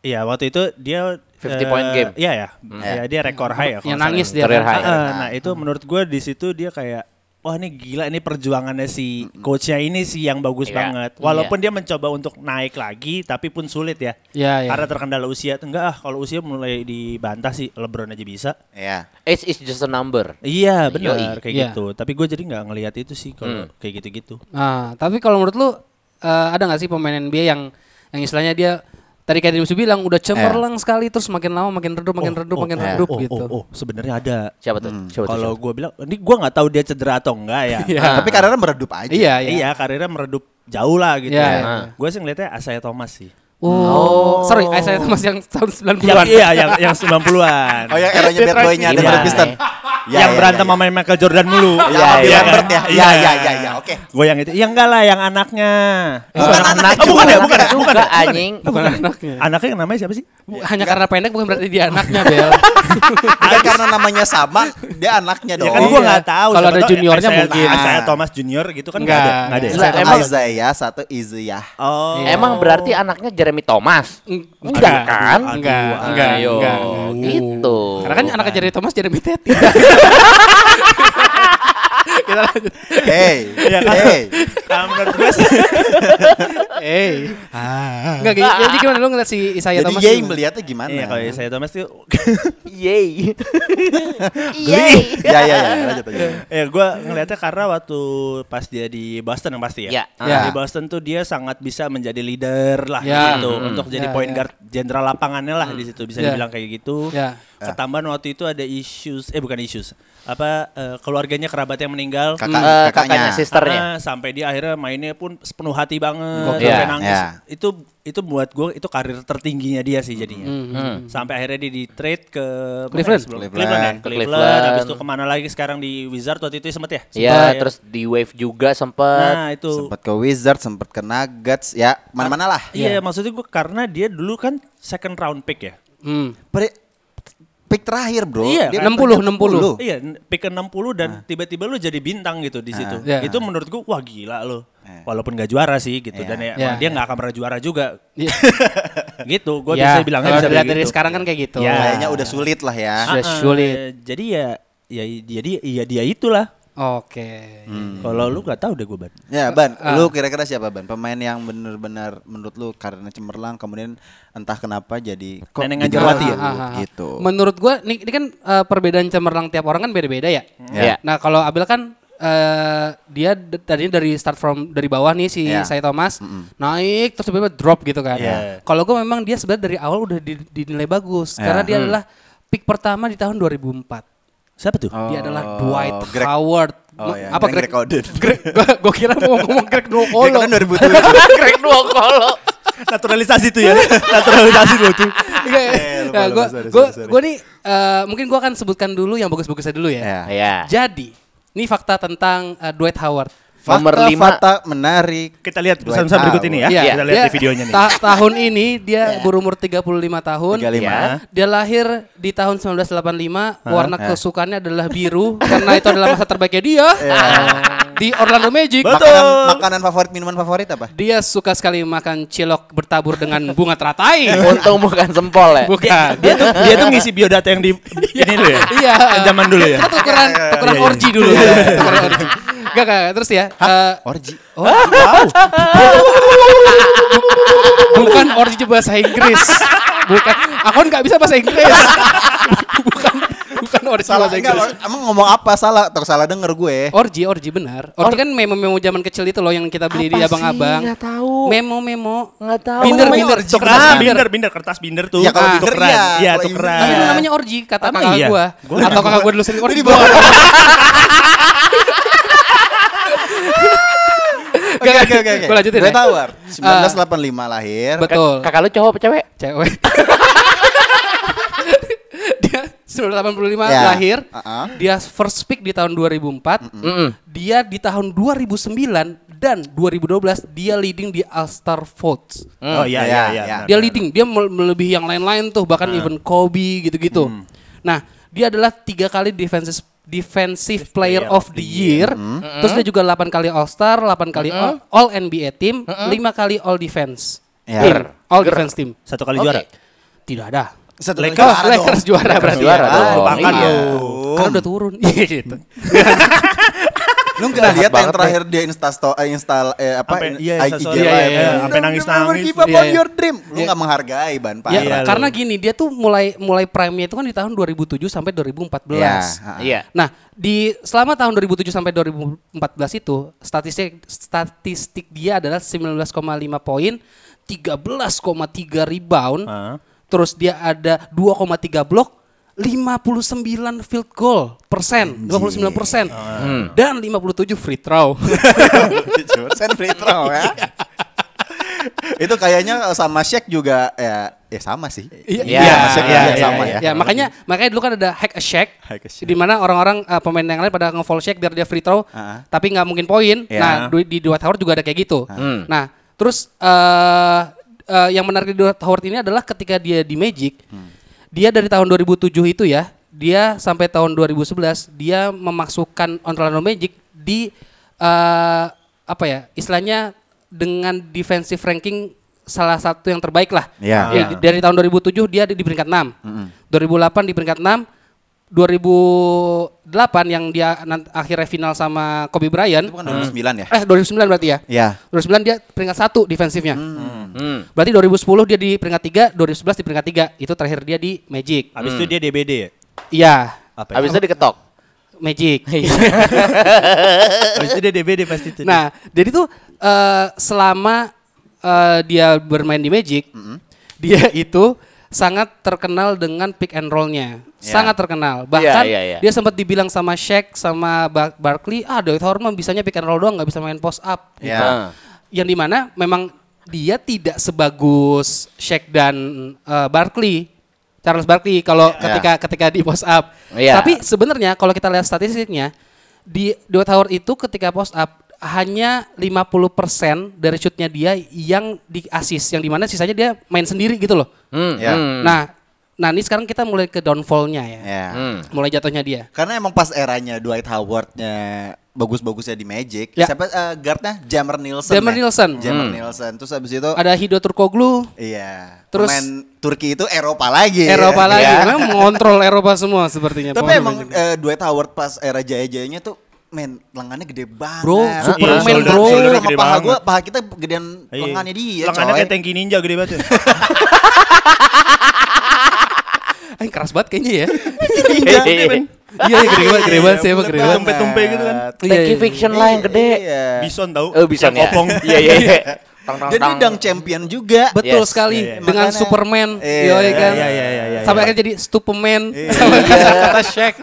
Iya, waktu itu dia 50 eh, point game. Iya ya. Iya, dia rekor high ya. kalau Yang nggak nangis salah. dia. Career kan. high. Ah, ah, nah, itu menurut gua di situ dia kayak wah ini gila ini perjuangannya si coachnya ini sih yang bagus Iya. banget. Walaupun dia mencoba untuk naik lagi tapi pun sulit ya. Iya, iya. Karena terkendala usia. Enggak ah, kalau usia mulai dibantah sih LeBron aja bisa. Iya. Age is just a number. Iya, benar kayak Iya. gitu. Tapi gue jadi nggak ngelihat itu sih kalau Hmm. kayak gitu-gitu. Nah, tapi kalau menurut lu eh, ada nggak sih pemain NBA yang yang istilahnya dia tadi kayak Dimusi bilang udah cemerlang sekali terus makin lama makin redup makin redup makin oh, redup oh, oh, gitu. Oh, sebenarnya ada. Siapa tuh? Siapa tuh? Hmm, Kalau gue bilang, ini gue nggak tahu dia cedera atau enggak ya. Iya. Tapi karirnya meredup aja. Iya, iya. Iya, karirnya meredup jauh lah gitu. Iya, iya. Gue sih ngeliatnya Asaya Thomas sih. Oh, sorry, saya Thomas yang tahun 90-an. Yang, iya, yang yang 90-an. Oh yang eranya bad boy-nya Iya. ada Piston. iya, Ya, yang berantem sama Michael Jordan mulu. Iya, iya, kan? Bird ya. Iya, iya, iya, iya, oke. Gue yang itu. Ya enggak lah, yang anaknya. Bukan anak. Oh, bukan Juga, ya, bukan ya, bukan ya, bukan ya. anjing. Bukan anaknya. Anaknya yang namanya siapa sih? Bu- Hanya karena pendek bukan berarti dia anaknya, Bel. Bukan karena namanya sama, dia anaknya dong. Ya kan gue Iya. nggak tahu. Kalau siapa ada tahu juniornya Isaiah- mungkin. Isaiah Thomas Junior gitu kan nggak Nggak, Iya. ada. Nggak ada. ya? nggak. Satu Emang- Isaiah, satu Izuyah. Oh. Emang berarti anaknya Jeremy Thomas? Enggak Enggak. kan? Enggak, enggak, Ayo, enggak. gitu. Karena kan anaknya jadi Thomas jadi Mitet. Hey, Iya kan? hey. Kalau menurut gue sih, Iya. Eh. Enggak gitu. Jadi gimana lu ngeliat si Isaiah Jadi Thomas? Yei gimana? melihatnya gimana? Iya, kalau Isaiah Thomas tuh Yay. Ya, ya, ya. Lanjut aja. Ya gue ngelihatnya karena waktu pas dia di Boston yang pasti Ya. ya. Ya. Di Boston tuh dia sangat bisa menjadi leader lah Ya. gitu Mm. untuk jadi Ya, point ya. guard jenderal lapangannya lah di situ bisa Ya. dibilang kayak gitu. Ya. Ketambahan waktu itu ada issues eh bukan issues apa eh, keluarganya kerabat yang meninggal. Kakak, Eh, kakaknya. kakaknya, sisternya. Ah, sampai dia akhirnya mainnya pun sepenuh hati banget, Gokil. sampai Ya. nangis. Ya. Itu itu buat gue itu karir tertingginya dia sih jadinya. Sampai akhirnya dia di trade ke mana Hmm, Cleveland. ya sebelum- Cleveland. Cleveland, ya? Ke Cleveland. Cleveland. Habis itu kemana lagi sekarang di Wizard waktu itu ya sempet ya? Ya, Sempet. terus di wave juga sempet. Nah itu. Sempat ke Wizard, sempat ke Nuggets, ya mana-mana lah. Iya maksudnya gue karena dia dulu kan second round pick ya. Hmm. Pre- pick terakhir, Bro. Iya, Dia 60, punya 60. Iya n- pick ke 60 dan tiba-tiba lu jadi bintang gitu di situ. Iya. Itu menurut gue wah gila lo. Eh. Walaupun gak juara sih gitu Iya. dan ya, Iya. dia nggak akan pernah juara juga. Iya. gitu, gue Ya, bisa bilang kalau bisa dilihat kayak dari gitu. sekarang kan kayak gitu. Ya. Kayaknya udah sulit lah ya. Sudah Ah, Iya, sulit. eh, Jadi ya ya jadi iya dia itulah. Oke. Hmm. Kalau lu nggak tahu deh gue ban. Ya Ban, lu kira-kira siapa Ban? Pemain yang benar-benar menurut lu karena cemerlang kemudian entah kenapa jadi kok Neneng jadi Anjawati ya? redup Ah, ah, ah. gitu. Menurut gua nih ini kan eh, perbedaan cemerlang tiap orang kan beda-beda ya. Iya. Iya. Ya. Nah, kalau Abel kan eh, dia d- tadinya dari start from dari bawah nih si Ya. saya Thomas naik terus tiba-tiba drop gitu kan. Iya. Ya. Kalau gua memang dia sebenarnya dari awal udah di- dinilai bagus Ya. karena dia adalah pick pertama di tahun 2004. Siapa tuh? Dia adalah Dwight Oh, Greg- Howard Oh ya, apa Greg Greg? Oden. Greg, gua, gua kira mau ngomong Greg Greg kan Nuokolo. Oden 2007. Greg Nuokolo. Naturalisasi tuh ya. Naturalisasi lo tuh. Enggak ya. Eh, lupa, Nah, lupa, gua sorry, gua sorry, sorry. gua nih eh, mungkin gua akan sebutkan dulu yang bagus-bagusnya dulu ya. Nah. Ya. Iya. Jadi, ini fakta tentang eh, Dwight Howard. Nomor Fakta- lima. fakta menarik. Kita lihat Dua pesan-pesan berikut ini ya. Iya. Kita lihat di Dia- videonya nih. ta- tahun ini dia berumur 35 tahun. 35. Iya. Dia lahir di tahun 1985. warna Eh. Hah? kesukaannya adalah biru karena itu adalah masa terbaiknya dia. Iya. di Orlando Magic. Makanan, makanan favorit, minuman favorit apa? Dia suka sekali makan cilok bertabur dengan bunga Iya. teratai. Untung bukan sempol ya. Bukan. Dia tuh dia tuh ngisi biodata yang di ini dulu ya. Iya. Zaman dulu ya. Kita tukeran tukeran Iya, iya. orgi dulu. Tukeran orgi. Gak, gak, gak. terus ya. eh, Orji. bukan orgi bahasa Inggris. Bukan. Aku nggak bisa bahasa Inggris. bukan bukan orgi Salah bahasa enggak, Eh. Inggris. or- emang ngomong apa salah? Tok salah denger gue. Orgi, orgi benar. Orgi kan memo-memo zaman kecil itu loh yang kita beli di abang-abang. Gak tahu. Memo-memo. Nggak tahu. Binder, Namanya binder. orji. kertas Ah, binder. binder, binder kertas binder tuh. Ya, kalau Ah, binder, tukeran. iya. Iya, Kalau tukeran. Tapi Inggris- itu namanya orgi kata Emang kakak iya? gua. Gua Atau kakak gua dulu sering orgi. Oke oke oke. Gue lanjutin Gue ya. tahu. 1985 lahir. Bet- Betul. Kakak lu cowok apa cewek? Cewek. Dia 1985 Ya. lahir. Uh-uh. Dia first pick di tahun 2004. Hmm. Dia di tahun 2009 dan 2012 dia leading di All Star votes. Oh iya Iya, iya iya. iya. benar, Dia benar. leading, dia mel- melebihi yang lain-lain tuh bahkan even Kobe gitu-gitu. Hmm. Nah, dia adalah tiga kali defensive defensive player of the year. Hmm. Terus dia juga 8 kali All Star, 8 kali All, All NBA team, lima 5 kali All Defense. Ya. Iya. Team, All Defense team. Satu kali Oke. juara. Tidak ada. Satu Lakers- Oh, juara dong. Lakers juara berarti. juara ya. dong. Ah, Lupakan iya. Oh. lo. Kan Karena udah turun. Iya gitu. Lu nggak lihat yang banget, terakhir dia insta sto- eh, install eh, apa Sampai- in- iya, IG sorry, live. iya, iya, Don't iya. Sampai nangis-nangis. remember ya. Give up Iya, on iya. your dream. Lu Iya. nggak menghargai ban pak. Ya, Iya, karena gini, dia tuh mulai mulai prime-nya itu kan di tahun 2007 sampai 2014. Iya. Nah, di selama tahun 2007 sampai 2014 itu statistik statistik dia adalah 19,5 poin, 13,3 rebound, Ah. terus dia ada 2,3 blok, 59 field goal persen, 29 persen, dan 57 free throw. Sen free throw ya. Itu kayaknya eh, sama Shaq juga ya, ya sama sih. Iya, Iya, Shaq iya, juga iya, sama Ya, ya, ya. makanya makanya dulu kan ada hack a shack, Hack a shack. di mana orang-orang eh, pemain yang lain pada nge-fall shack biar dia free throw, Ah. tapi nggak mungkin poin. Ya. Nah, du- di Dwight Howard juga ada kayak gitu. Ah. Hmm. Nah, terus eh eh, yang menarik di Dwight Howard ini adalah ketika dia di Magic, Hmm. dia dari tahun 2007 itu ya, dia sampai tahun 2011 dia memasukkan Orlando Magic di eh apa ya? Istilahnya dengan defensive ranking salah satu yang terbaik lah. Ya. Ya, di- dari tahun 2007 dia di di peringkat 6. 2008 di peringkat 6. 2008 yang dia nan- akhirnya final sama Kobe Bryant. Itu bukan 2009 ya? Eh 2009 berarti ya. Ya. 2009 dia peringkat 1 defensifnya. Mm. Hmm. Berarti 2010 dia di peringkat 3, 2011 di peringkat 3. Itu terakhir dia di Magic. Habis itu dia DBD ya. Iya, Apa? ya? Abis itu diketok. Magic. Habis itu dia DBD pasti itu. Nah, jadi tuh eh, selama eh, dia bermain di Magic, dia itu sangat terkenal dengan pick and roll-nya. Sangat terkenal. Bahkan Iya, iya, iya. dia sempat dibilang sama Shaq sama Bar- Barkley, "Ah, Dwight Howard mah bisanya pick and roll doang, nggak bisa main post up." gitu. Ah. Ya. Yang dimana memang dia tidak sebagus Shaq dan eh, Barkley. Charles Barkley kalau ketika ketika di post up. Iya. Tapi sebenarnya kalau kita lihat statistiknya di Dwight Howard itu ketika post up hanya 50% dari shootnya dia yang di assist yang dimana sisanya dia main sendiri gitu loh. Hmm. Ya. hmm. Nah, nah ini sekarang kita mulai ke downfallnya ya. Ya. Hmm. Mulai jatuhnya dia. Karena emang pas eranya Dwight Howard-nya bagus-bagusnya di Magic. Ya. Siapa eh, guard-nya? Jammer Nielsen. Jammer ya? Nielsen. Jammer Nielsen. Terus abis itu Ada Hido Turkoglu, iya. Terus- pemain Turki itu Eropa lagi. Iya. Eropa lagi. Ya. Memang mengontrol Eropa semua sepertinya. Tapi pemain emang Magic. eh, Dwight Howard pas era jaya-jayanya tuh men lengannya gede banget. Bro, Nah, Superman, shoulder- bro. shoulder Gede sama paha banget. gua, paha kita gedean Iya. lengannya dia, Lengannya coy. kayak tanki ninja gede banget. ya. Ay, keras banget kayaknya ya. Ninja. Iya, iya. Iya, iya, gede banget, gede banget sih, emang Bulat gede banget. Tumpe-tumpe gitu kan. Iya, Take iya. fiction lah yang gede. Iya. Oh, Bison tahu. Eh bisa Yang kopong. Iya iya. iya. Tang, tang, Jadi tang. dang champion juga. Betul Yes. sekali Iya, iya. dengan Makanya- Superman, Iya, yoi kan. iya, iya, iya, iya, Sampai iya. akhirnya jadi Stupeman. Sampai kata kata Shaq.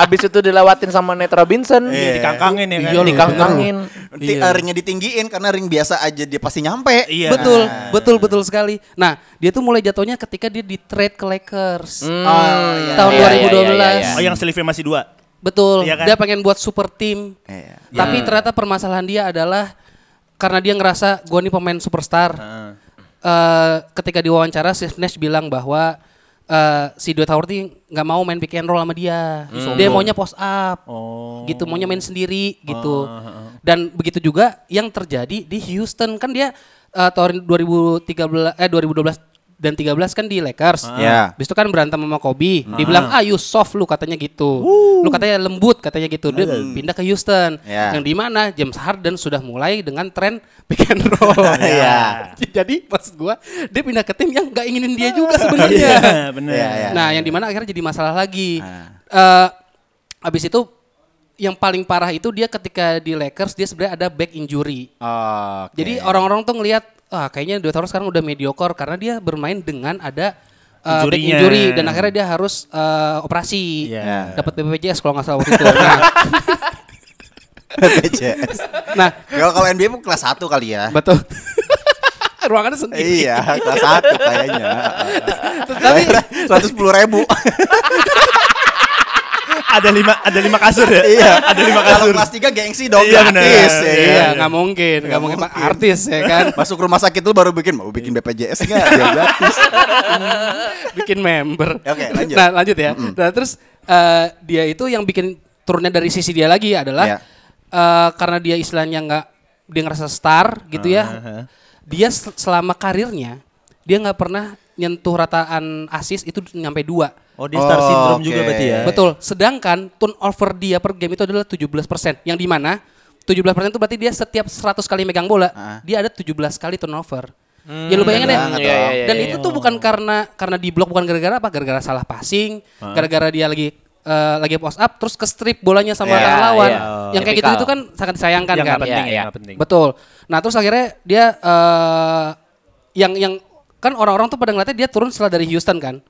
Abis itu dilewatin sama Nate Robinson. Iya, dikangkangin ya kan. Iya, loh. Dikangkangin. Ti- Iya. eh, Ringnya ditinggiin karena ring biasa aja dia pasti nyampe. Iya. Betul, betul, betul sekali. Nah, dia tuh mulai jatuhnya ketika dia di trade ke Lakers. Ah, Oh, iya. Tahun Iya, iya, iya, 2012. iya, iya. Oh, yang sleeve masih dua. Betul. Iya kan? Dia pengen buat super team. Iya. Tapi ternyata permasalahan dia adalah karena dia ngerasa gua nih pemain superstar. Eh, ketika diwawancara Steve Nash bilang bahwa eh, si Dwight Howard ini nggak mau main pick and roll sama dia. Hmm. Dia maunya post up. Oh. Gitu, maunya main sendiri Ah, gitu. Dan begitu juga yang terjadi di Houston kan dia eh, tahun 2013 eh 2012 dan 13 kan di Lakers. Iya. Habis itu kan berantem sama Kobe, Nah. dibilang ah you soft lu katanya gitu. Lu katanya lembut katanya gitu. Dia pindah ke Houston. Ya. Yang di mana James Harden sudah mulai dengan tren pick and roll. Ya. Jadi maksud gua dia pindah ke tim yang nggak inginin dia juga sebenarnya. Iya, bener. Iya, iya. Nah, yang di mana akhirnya jadi masalah lagi. Ah. Eh habis itu yang paling parah itu dia ketika di Lakers dia sebenarnya ada back injury. Oke. Jadi orang-orang tuh ngelihat ah kayaknya Dwight Howard sekarang udah mediocre karena dia bermain dengan ada uh, back Injurinya. injury dan akhirnya dia harus uh, operasi. Iya. Dapat BPJS kalau nggak salah waktu itu. Nah, BPJS. nah, Kalau kalau NBA pun kelas 1 kali ya. betul. Ruangannya sendiri. Iya, kelas 1 kayaknya. Tapi Seratus puluh ribu. Ada lima, ada lima kasur ya. ada lima Iya. Kalau kasur. kelas 3 gengsi dong Iya, gratis. bener. ya kan? Iya iya, nggak mungkin, nggak mungkin Pak, artis ya kan. Masuk rumah sakit lu baru bikin mau bikin BPJS enggak? Ya gratis. bikin member. Oke, lanjut. Nah, lanjut ya. Nah, terus eh, dia itu yang bikin turunnya dari sisi dia lagi adalah Iya. eh, karena dia istilahnya nggak dia ngerasa star gitu ya. Uh-huh. Dia se- selama karirnya dia nggak pernah nyentuh rataan asis itu nyampe dua. Oh, dia star Oh, syndrome juga oke. berarti ya. Betul. Sedangkan turnover dia per game itu adalah 17%. Yang di mana 17% itu berarti dia setiap 100 kali megang bola, dia ada 17 kali turnover. ya lu bayangin ya. Ah. banget Iya, iya, iya, Dan iya. itu tuh bukan karena karena di blok bukan gara-gara apa? Gara-gara salah passing, gara-gara dia lagi eh, lagi post up terus ke strip bolanya sama Iya, orang lawan. iya. Yang kayak gitu Tipikal. itu kan sangat disayangkan Yang kan. nggak penting, Iya, ya, iya. nggak penting. Betul. Nah, terus akhirnya dia eh yang yang kan orang-orang tuh pada ngeliatnya dia turun setelah dari Houston kan.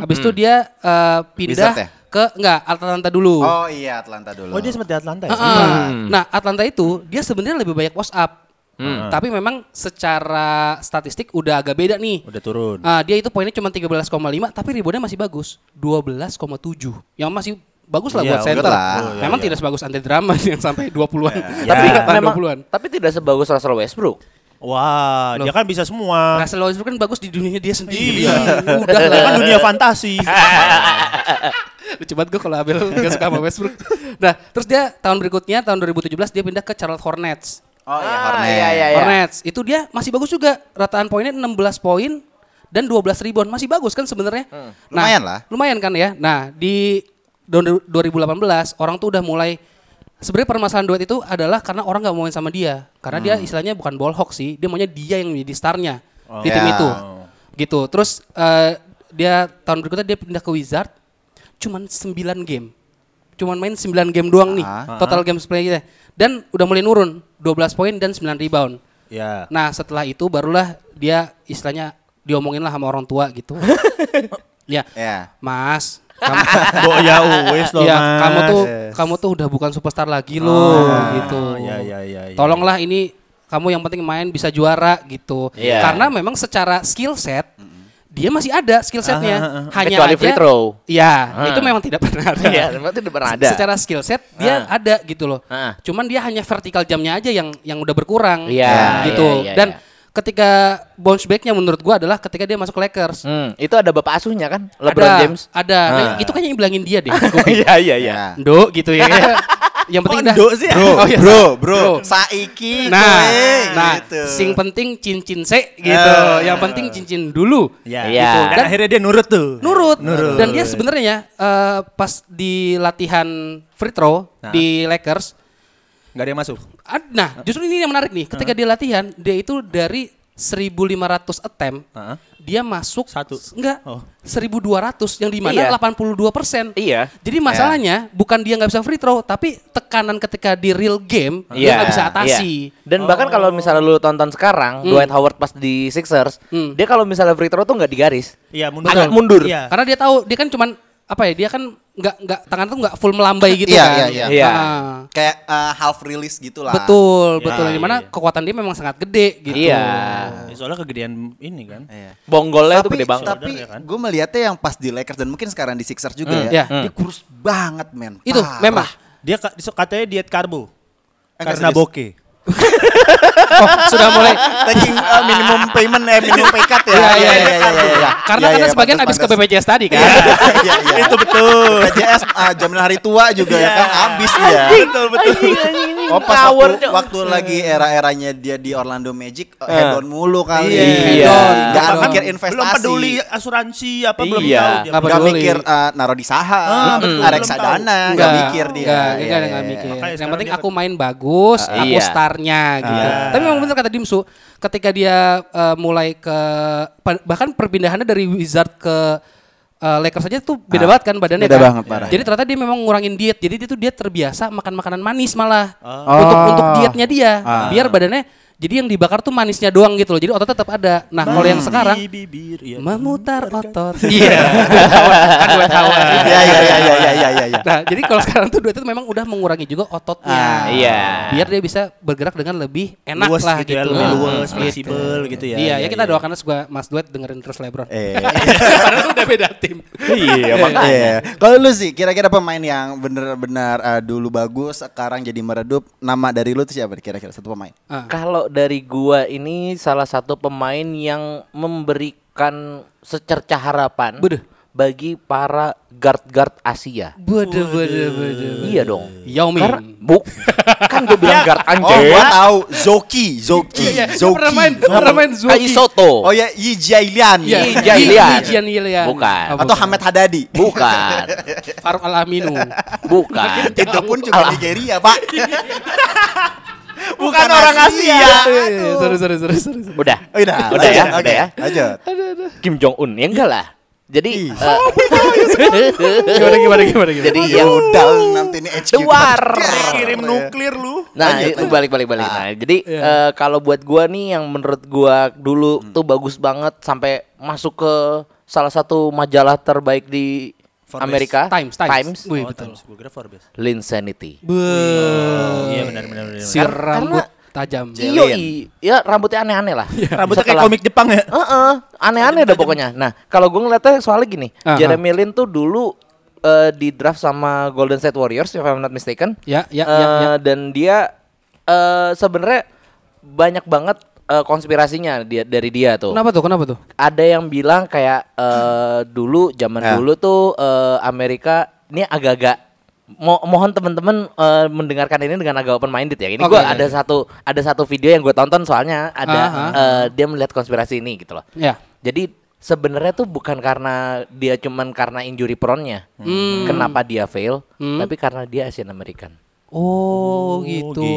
Habis itu dia eh, pindah Wizard ya? ke enggak Atlanta dulu. Oh iya Atlanta dulu. Oh, dia sempat di Atlanta ya. Heeh. Nah, Atlanta itu dia sebenarnya lebih banyak post up. Hmm. Tapi memang secara statistik udah agak beda nih. Udah turun. Ah, dia itu poinnya cuma 13,5 tapi reboundnya masih bagus. 12,7. Yang Ya, masih bagus lah Iya, buat oke center. lah. Oh, Memang tidak sebagus anti drama yang sampai 20-an. Tapi Tapi iya. memang, 20-an. tapi tidak sebagus Russell Westbrook. Wah, dia kan bisa semua. Russell Westbrook kan bagus di dunia dia sendiri. gitu. Iya. Udah Dia lah. kan dunia fantasi. Lucu banget gue kalau Abel gak suka sama Westbrook. Nah, terus dia tahun berikutnya, tahun 2017 dia pindah ke Charlotte Hornets. Oh iya Ah, Hornet. iya, iya. Hornets, itu dia masih bagus juga. Rataan poinnya 16 poin dan 12 rebound. Masih bagus kan sebenarnya. Nah, Lumayan lah. Lumayan kan ya. Nah, di tahun 2018 orang tuh udah mulai sebenarnya permasalahan duet itu adalah karena orang nggak mau main sama dia. Karena dia Hmm. istilahnya bukan ball hawk sih, dia maunya dia yang menjadi starnya di tim Ya. itu. Gitu. Terus eh, dia tahun berikutnya dia pindah ke Wizard cuman 9 game. Cuman main 9 game doang nih. Ah. Total games play-nya. Dan udah mulai nurun, 12 poin dan 9 rebound. Ya. Nah setelah itu barulah dia istilahnya diomongin lah sama orang tua gitu. ya, Iya. Mas, kamu, Bo ya wes loh, ya, Mas. kamu tuh Yes. Oh, kamu tuh udah bukan superstar lagi loh gitu. ya, ya, ya, ya. Tolonglah ini kamu yang penting main bisa juara gitu. Iya. Karena memang secara skill set dia masih ada skill setnya. Ah, ah, Hanya Kecuali aja, free throw. Iya, Ah. itu memang tidak pernah ada. Iya, memang tidak pernah ada. Secara skill set dia Ah. ada gitu loh. Ah. Cuman dia hanya vertikal jamnya aja yang yang udah berkurang Iya, gitu. iya, iya, Dan iya. ketika bounce backnya menurut gua adalah ketika dia masuk ke Lakers. Hmm, itu ada bapak asuhnya kan, LeBron Ada, James. Ah. ada. Nah, itu kayaknya yang bilangin dia deh. Iya, iya, iya. Iya. Do gitu ya. yang penting dah. Kok gitu, eh, do sih? Bro, Oh, iya. bro, bro, Bro. Saiki Nah, gue, nah, gitu. sing penting cincin se gitu. Yang penting cincin dulu. Eh. Iya. Ya. gitu. Dan, Dan- akhirnya dia nurut tuh. Nurut. Dan dia sebenarnya ya, eh, pas di latihan free throw Nah. di Lakers, Enggak ada yang masuk. Nah. ad- nah justru ini yang menarik nih. Ketika dia latihan, dia itu dari 1500 attempt, Heeh. dia masuk Nah. Satu. enggak Oh. 1200 yang di mana Iya. 82%. Iya. Jadi masalahnya bukan dia nggak bisa free throw, tapi tekanan ketika di real game dia Iya, nggak bisa atasi. iya. Dan bahkan kalau misalnya lu tonton sekarang Dwight Howard pas di Sixers, Hmm. dia kalau misalnya free throw tuh nggak di garis. Iya, mundur. Agak Betul. mundur. Iya. Karena dia tahu dia kan cuman apa ya? Dia kan nggak nggak tangan tuh nggak full melambai gitu Iya, kan. iya, iya. Iya. Ah. Kayak eh, half release gitu lah. Betul, betul. Iya, Yang mana iya. kekuatan dia memang sangat gede gitu. Iya. Ya, soalnya kegedean ini kan. Iya. Bonggolnya tuh tapi, gede banget. Tapi Shoulder ya kan? gue melihatnya yang pas di Lakers dan mungkin sekarang di Sixers juga iya. ya. Dia kurus banget men. Itu Parah. memang Dia ka- diso- katanya diet karbo. Eh, karena serius? boke. Oh, sudah mulai Taking eh, minimum payment eh minimum pay cut ya. Iya, iya, iya, iya, iya. karena Iya, karena iya, sebagian habis pantas, ke pantas. BPJS tadi kan. Iya, iya. Itu betul. BPJS ah, jaminan hari tua juga ya kan habis dia. Betul betul. Anjing, anjing, anjing. Oh pas Ngawur, waktu, Cok. waktu lagi era-eranya dia di Orlando Magic eh, hedon mulu kali. Iya. kan Hedon, Iya. Gak Belum- mikir investasi. Belum peduli asuransi apa belum Iya. tahu dia. Nggak Gak peduli. mikir eh, naro di Ah, saham, betul, ah, belum reksadana, tahu. gak mikir dia. Enggak, Iya, enggak, iya, enggak iya. Ah, mikir. Makanya yang sekarang penting dia aku main bagus, aku iya. starnya gitu. Tapi memang benar kata Dimsu, ketika dia eh, mulai ke pa- bahkan perpindahannya dari Wizard ke eh, Lakers saja tuh beda Ah, banget kan badannya beda kan? banget, parah. Jadi ternyata dia memang ngurangin diet. Jadi dia tuh dia terbiasa makan makanan manis malah Oh. Ah. untuk untuk dietnya dia. Biar badannya jadi yang dibakar tuh manisnya doang gitu loh. Jadi otot tetap ada. Nah, kalau yang sekarang Di bibir, iya. memutar otot. Iya. Kan buat hawa. Iya, iya, iya, iya, iya, iya, iya, iya. Nah, jadi kalau sekarang tuh duet itu memang udah mengurangi juga ototnya. Ah, iya. Biar dia bisa bergerak dengan lebih enak Luas lah gitu. gitu ya, lebih luas, Gitu. fleksibel gitu ya. Iya, ya Iya, kita iya. doakan doakan semoga Mas Duet dengerin terus LeBron. Eh, Padahal udah beda tim. Iya, iya. Kalau lu sih kira-kira pemain yang bener-bener eh, dulu bagus, sekarang jadi meredup, nama dari lu tuh siapa kira-kira satu pemain? Ah. Kalau dari gua ini salah satu pemain yang memberikan secerca harapan Bener. bagi para guard-guard Asia. Bede bede bede. Iya dong. Yao Ming. Karena bu, kan gua bilang guard Oh, anjing. gua tahu Zoki, Zoki, Iya, dia Zoki. pernah main, pernah main Zoki. Kai Soto. Oh ya, Yi Jailian. Iya, Yi Jailian. Yi Jailian. Bukan. Oh, Atau Hamed Hadadi. Bukan. Faruk Alaminu. Bukan. Itu pun juga Nigeria, Pak. Bukan Iya, orang Asia. Aduh. Iya, Sorry sorry sorry sorry. sorry. Udah. Oh, udah, Udah ya, udah lanjut, oke, ya. Lanjut. Kim Jong Un. Ya enggak lah. Jadi Ih. eh, Gimana gimana gimana gimana. jadi Ya yang udah lu nanti ini HQ. Iya. Duar. Kirim nuklir lu. Nah, itu balik balik balik. Nah, jadi eh, kalau buat gua nih yang menurut gua dulu tuh bagus banget sampai masuk ke salah satu majalah terbaik di Forbes. Amerika, Times Times. Wih, Oh, betul. Times, gua kira Forbes. Linsanity. Be- Iya benar benar benar. Si Karena- rambut tajam. Iyo, i- ya rambutnya aneh-aneh lah. Iya, Rambutnya kayak Setelah- komik Jepang ya. Heeh, aneh-aneh dah pokoknya. Nah, kalau gue ngeliatnya soalnya gini, Aha. Jeremy Lin tuh dulu eh, di draft sama Golden State Warriors, if I'm not mistaken. Ya, ya, Eh, ya, ya. Dan dia eh, sebenarnya banyak banget eh, konspirasinya dia dari dia tuh. Kenapa tuh? Kenapa tuh? Ada yang bilang kayak eh, dulu, zaman Ya. dulu tuh eh, Amerika ini agak-agak Mo- mohon teman-teman eh, mendengarkan ini dengan agak open minded ya. Ini Oke, gua oke, ada oke. satu ada satu video yang gue tonton soalnya ada Aha. eh, dia melihat konspirasi ini gitu loh. Ya. Jadi sebenarnya tuh bukan karena dia cuman karena injury prone-nya. Hmm. Kenapa dia fail? Hmm. Tapi karena dia Asian American. Oh, gitu.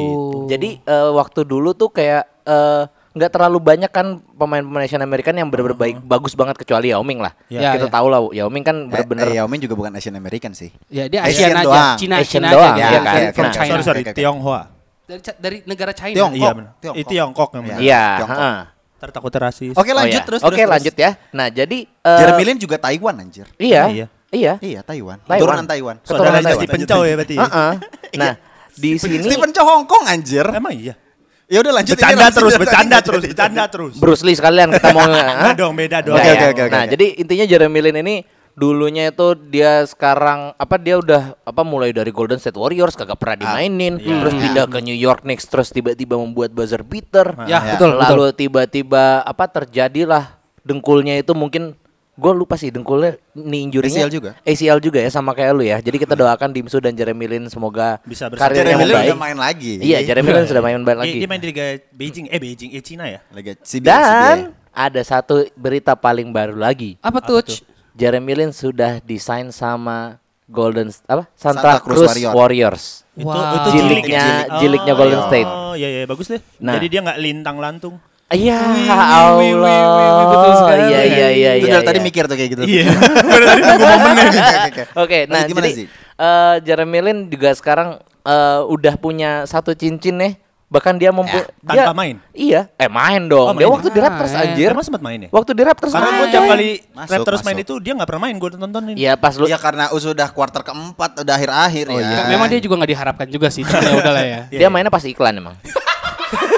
Jadi eh, waktu dulu tuh kayak eh, nggak terlalu banyak kan pemain-pemain Asian American yang bener-bener baik, bagus banget kecuali Yao Ming lah. Ya. Kita Ya, tahu lah Yao Ming kan Hmm. Eh, bener-bener eh, Yao Ming juga bukan Asian American sih. ya dia Asian Asian, aja, doang. Cina, Asian Cina doang, aja iya dia kan? dari- from Nah, China. Sorry sorry, Oke, oke. Tionghoa. Dari, dari negara China. Tiongkok. Iya benar. Tiongkok. Itu Tiongkok yang benar. Iya, Tiongkok. heeh. Ntar takut rasis. Oke, Oh, lanjut ya. terus. Oke, terus, lanjut terus. ya. Nah, jadi eh, Jeremy Lin juga Taiwan anjir. Iya. Iya. Iya. Iya, Taiwan. Taiwan. Turunan Taiwan. Saudara Keturunan Stephen Chow ya berarti. Iya. ya? Heeh. Nah, di sini Stephen Chow Hong Kong anjir. Emang iya. Ya udah lanjut ini, Bercanda lanjut, terus, lanjut, bercanda lanjut, terus, lanjut. bercanda terus. Bruce Lee sekalian kita mau Enggak Hah? dong, beda dong. Oke Oke, oke oke, oke, Nah, oke. jadi intinya Jeremy Lin ini dulunya itu dia sekarang apa dia udah apa mulai dari Golden State Warriors kagak pernah dimainin, terus pindah ke New York Knicks, terus tiba-tiba membuat buzzer beater. Ya, Ya. betul, betul. Lalu tiba-tiba apa terjadilah dengkulnya itu mungkin gue lupa sih dengkulnya nih injurinya ACL juga. ACL juga ya sama kayak lu ya. Jadi kita doakan Dimsu dan Jeremy Lin semoga Bisa bersatu. karirnya Jeremy Lin membaik. udah main lagi. Iya, Jeremy Lin sudah main baik Dia- lagi. Dia main di Liga Beijing, eh Beijing, eh Cina ya. Lagi CBA, Dan Iya, ada satu berita paling baru lagi. Apa tuh? Ch? Jeremy Lin sudah desain sama Golden apa Santa Santa, Cruz Cruz, Warrior. Warriors. Wow. Jiliknya Ah, ya? jiliknya Eh, Golden Oh, State. Oh, iya iya bagus deh. Nah. Jadi dia nggak lintang lantung. Iya, wih, wih, wih, wih, Allah. betul sekali. Iya, iya, iya, Itu iya. dari tadi iya. mikir tuh kayak gitu. Iya. Oke, nah gimana jadi sih? eh, Jeremy Lin juga sekarang eh, udah punya satu cincin nih. Bahkan dia mempu dia- tanpa main? Iya, eh main dong. Oh, dia main. waktu di Raptors Main. anjir. Emang sempat main ya? Waktu di Rapters Karena main. gue tiap kali Masuk, Raptors main masuk. itu dia nggak pernah main gue tontonin. Iya, pas lu Oh, iya. Ya karena sudah kuarter keempat, udah akhir-akhir ya. Memang dia juga nggak diharapkan juga sih. Cuma ya udahlah ya. dia mainnya pas iklan emang.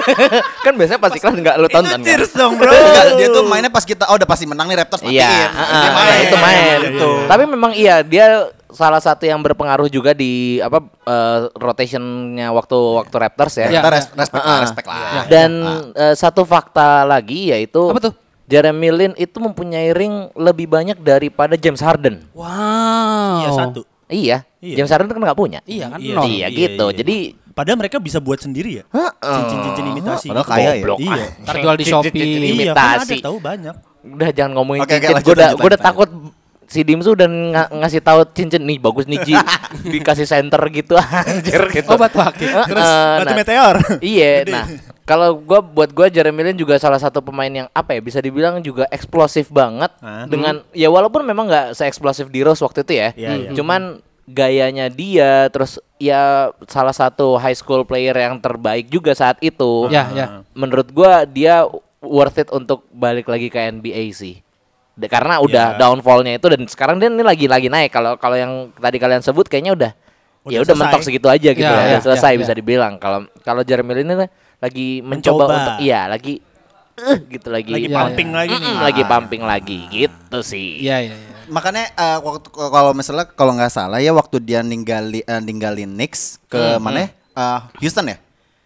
kan biasanya pas iklan nggak lu tonton. kan? Cheers dong bro. Enggak, Iya, dia tuh mainnya pas kita oh udah pasti menang nih Raptors Iya, matiin. heeh, Dia iya, itu main. Gitu. Tapi memang iya, dia salah satu yang berpengaruh juga di apa eh, rotationnya waktu waktu Raptors ya. Kita Iya. res- respect lah, Heeh. respect lah. Dan eh, satu fakta lagi yaitu Apa tuh? Jeremy Lin itu mempunyai ring lebih banyak daripada James Harden. Wow. Iya satu. Iya, Iya. James Harden kan nggak punya. Iya kan Iya, nol. Iya, Iya, gitu. iya. Jadi Padahal mereka bisa buat sendiri ya. Cincin-cincin imitasi. Padahal kaya ya. Goblok, Iya. anjing. Ntar jual di Shopee. Cincin-cincin Iya, kan ada imitasi. tahu banyak. Udah jangan ngomongin Oke, oke, cincin. lanjut, Gue udah lanjut, gua udah lanjut, takut si Dimsu dan nga- ngasih tahu cincin nih bagus nih Ji dikasih center gitu anjir gitu. Oh, batu akik. Heeh, Terus Eh, batu nah, meteor. Iya, nah kalau gua buat gua Jeremy Lin juga salah satu pemain yang apa ya bisa dibilang juga eksplosif banget Ah. dengan ya walaupun memang nggak seeksplosif di Rose waktu itu ya, Iya, iya. cuman gayanya dia terus ya salah satu high school player yang terbaik juga saat itu. Ya, ya. Menurut gua dia worth it untuk balik lagi ke NBA sih. Da- Karena udah Iya. downfallnya itu dan sekarang dia ini lagi lagi naik kalau kalau yang tadi kalian sebut kayaknya udah Udah ya udah selesai. mentok segitu aja gitu Ya, ya, ya, udah selesai ya, bisa ya. dibilang kalau kalau Jeremy Lin ini lagi mencoba, Mencoba. untuk iya lagi eh, gitu lagi Lagi Iya, pumping iya. lagi nih. Mm-mm, lagi pumping lagi gitu sih Iya, iya, iya. Makanya eh, waktu kalau misalnya kalau nggak salah ya waktu dia ninggali eh, ninggalin Knicks ke Hmm, mana? ya? Eh, Houston ya?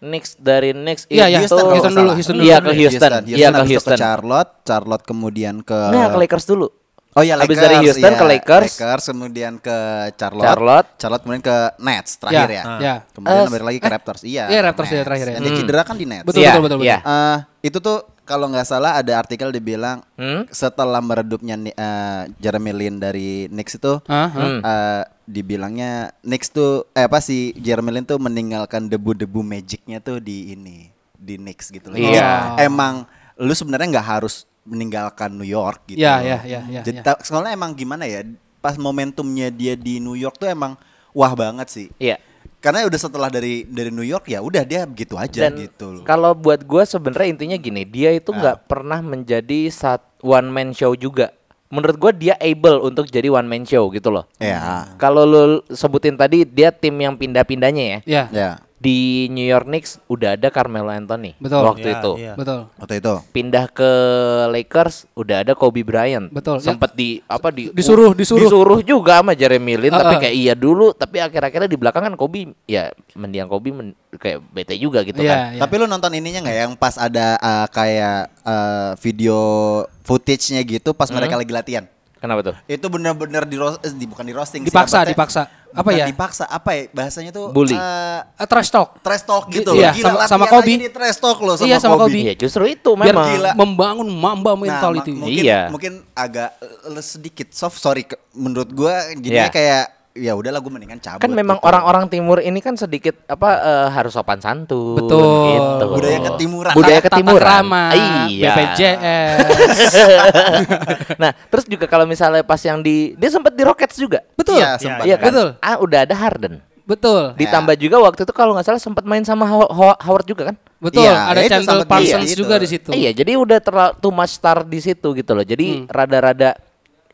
Knicks dari Knicks Iya, iya. itu Houston kalau Houston nggak dulu, salah. Houston dulu. iya ke Houston iya ke habis itu Houston ke Charlotte, Charlotte kemudian ke nah ke Lakers dulu Oh iya Habis Lakers. dari Houston iya. ke Lakers. kemudian ke Charlotte. Charlotte. kemudian ke Nets terakhir Ya, ya. ya. Kemudian Eh, balik lagi ke Raptors. Iya. iya, Raptors ya Nets. terakhir ya. Yang dia Hmm. cedera kan di Nets. Betul, Iya, betul, betul, betul. iya. Eh, itu tuh kalau nggak salah ada artikel dibilang Hmm? setelah meredupnya Ni- eh, Jeremy Lin dari Knicks itu Hah? Hmm. eh, dibilangnya Knicks tuh eh apa sih Jeremy Lin tuh meninggalkan debu-debu magicnya tuh di ini di Knicks gitu loh. Jadi Iya. emang lu sebenarnya nggak harus meninggalkan New York gitu. Iya, loh. iya, iya, iya, iya. Jadi ta- soalnya emang gimana ya pas momentumnya dia di New York tuh emang wah banget sih. iya Karena udah setelah dari dari New York ya udah dia begitu aja dan gitu loh. Ah. kalau buat gua sebenarnya intinya gini dia itu nggak pernah menjadi sat one man show juga menurut gua dia able untuk jadi one man show gitu loh Ya. kalau lu sebutin tadi dia tim yang pindah-pindahnya ya Iya. Ya. di New York Knicks udah ada Carmelo Anthony Betul. waktu Ya, Iya, itu. iya. Betul. Waktu itu. Pindah ke Lakers udah ada Kobe Bryant. Betul. Sempet di apa di u- Disuruh, disuruh. disuruh juga sama Jeremy Lin tapi Uh-uh. kayak iya dulu tapi akhir-akhirnya di belakang kan Kobe ya mendiang Kobe men- kayak bete juga gitu Iya, kan. iya. Tapi lu nonton ininya nggak yang pas ada eh, kayak eh, video footage-nya gitu pas Hmm. mereka lagi latihan? Kenapa tuh? Itu bener-bener di, ros- eh, di bukan di roasting Dipaksa, apa teh? dipaksa. Apa Bukan ya? Dipaksa apa ya? Bahasanya tuh Bully. eh, Ah, trash talk. trash talk Di- gitu iya, loh. Gila sama- latihan sama Kobe. aja di trash talk loh sama, Iya, sama Kobe. Kobe. Iya justru itu Biar memang. gila. membangun mamba Nah, ma- mentality. mungkin, Iya. mungkin agak eh, sedikit soft sorry ke- menurut gua Iya. jadinya kayak ya udahlah gua mendingan cabut. Kan memang gitu. orang-orang timur ini kan sedikit apa eh, harus sopan santun Betul. gitu. Budaya ketimuran. Budaya Tata ketimuran. krama, Iya. BPJS. nah, terus juga kalau misalnya pas yang di dia sempat di Rockets juga. Betul. Iya, sempat Iya kan? Betul. Ah, udah ada Harden. Ya. Betul. Ditambah juga waktu itu kalau nggak salah sempat main sama Ho- Ho- Howard juga kan? Betul, Iya, ada itu Chandler sempet di- Parsons iya, juga itu. di situ. Iya, jadi udah terlalu too much star di situ gitu loh. Jadi rada-rada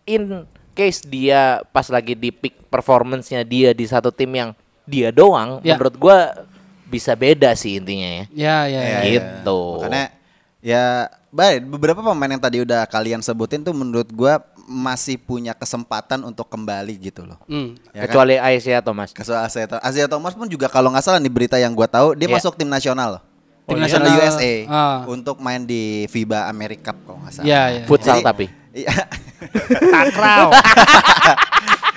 in case dia pas lagi di peak performance-nya dia di satu tim yang dia doang, Ya. menurut gua bisa beda sih intinya ya. Ya, ya, ya. Iya, iya. Gitu. Makanya ya baik beberapa pemain yang tadi udah kalian sebutin tuh menurut gua masih punya kesempatan untuk kembali gitu loh. Hmm. Ya kan? Kecuali Aisyah Thomas. Kecuali Asia, Tho- Asia Thomas pun juga kalau nggak salah nih berita yang gua tahu dia Iya. Oh, Nah, masuk tim nasional loh. Tim Tim nasional, nasional USA ah. untuk main di FIBA America Cup kalau nggak salah. Iya, iya. Futsal Jadi- tapi. Iya. Takraw.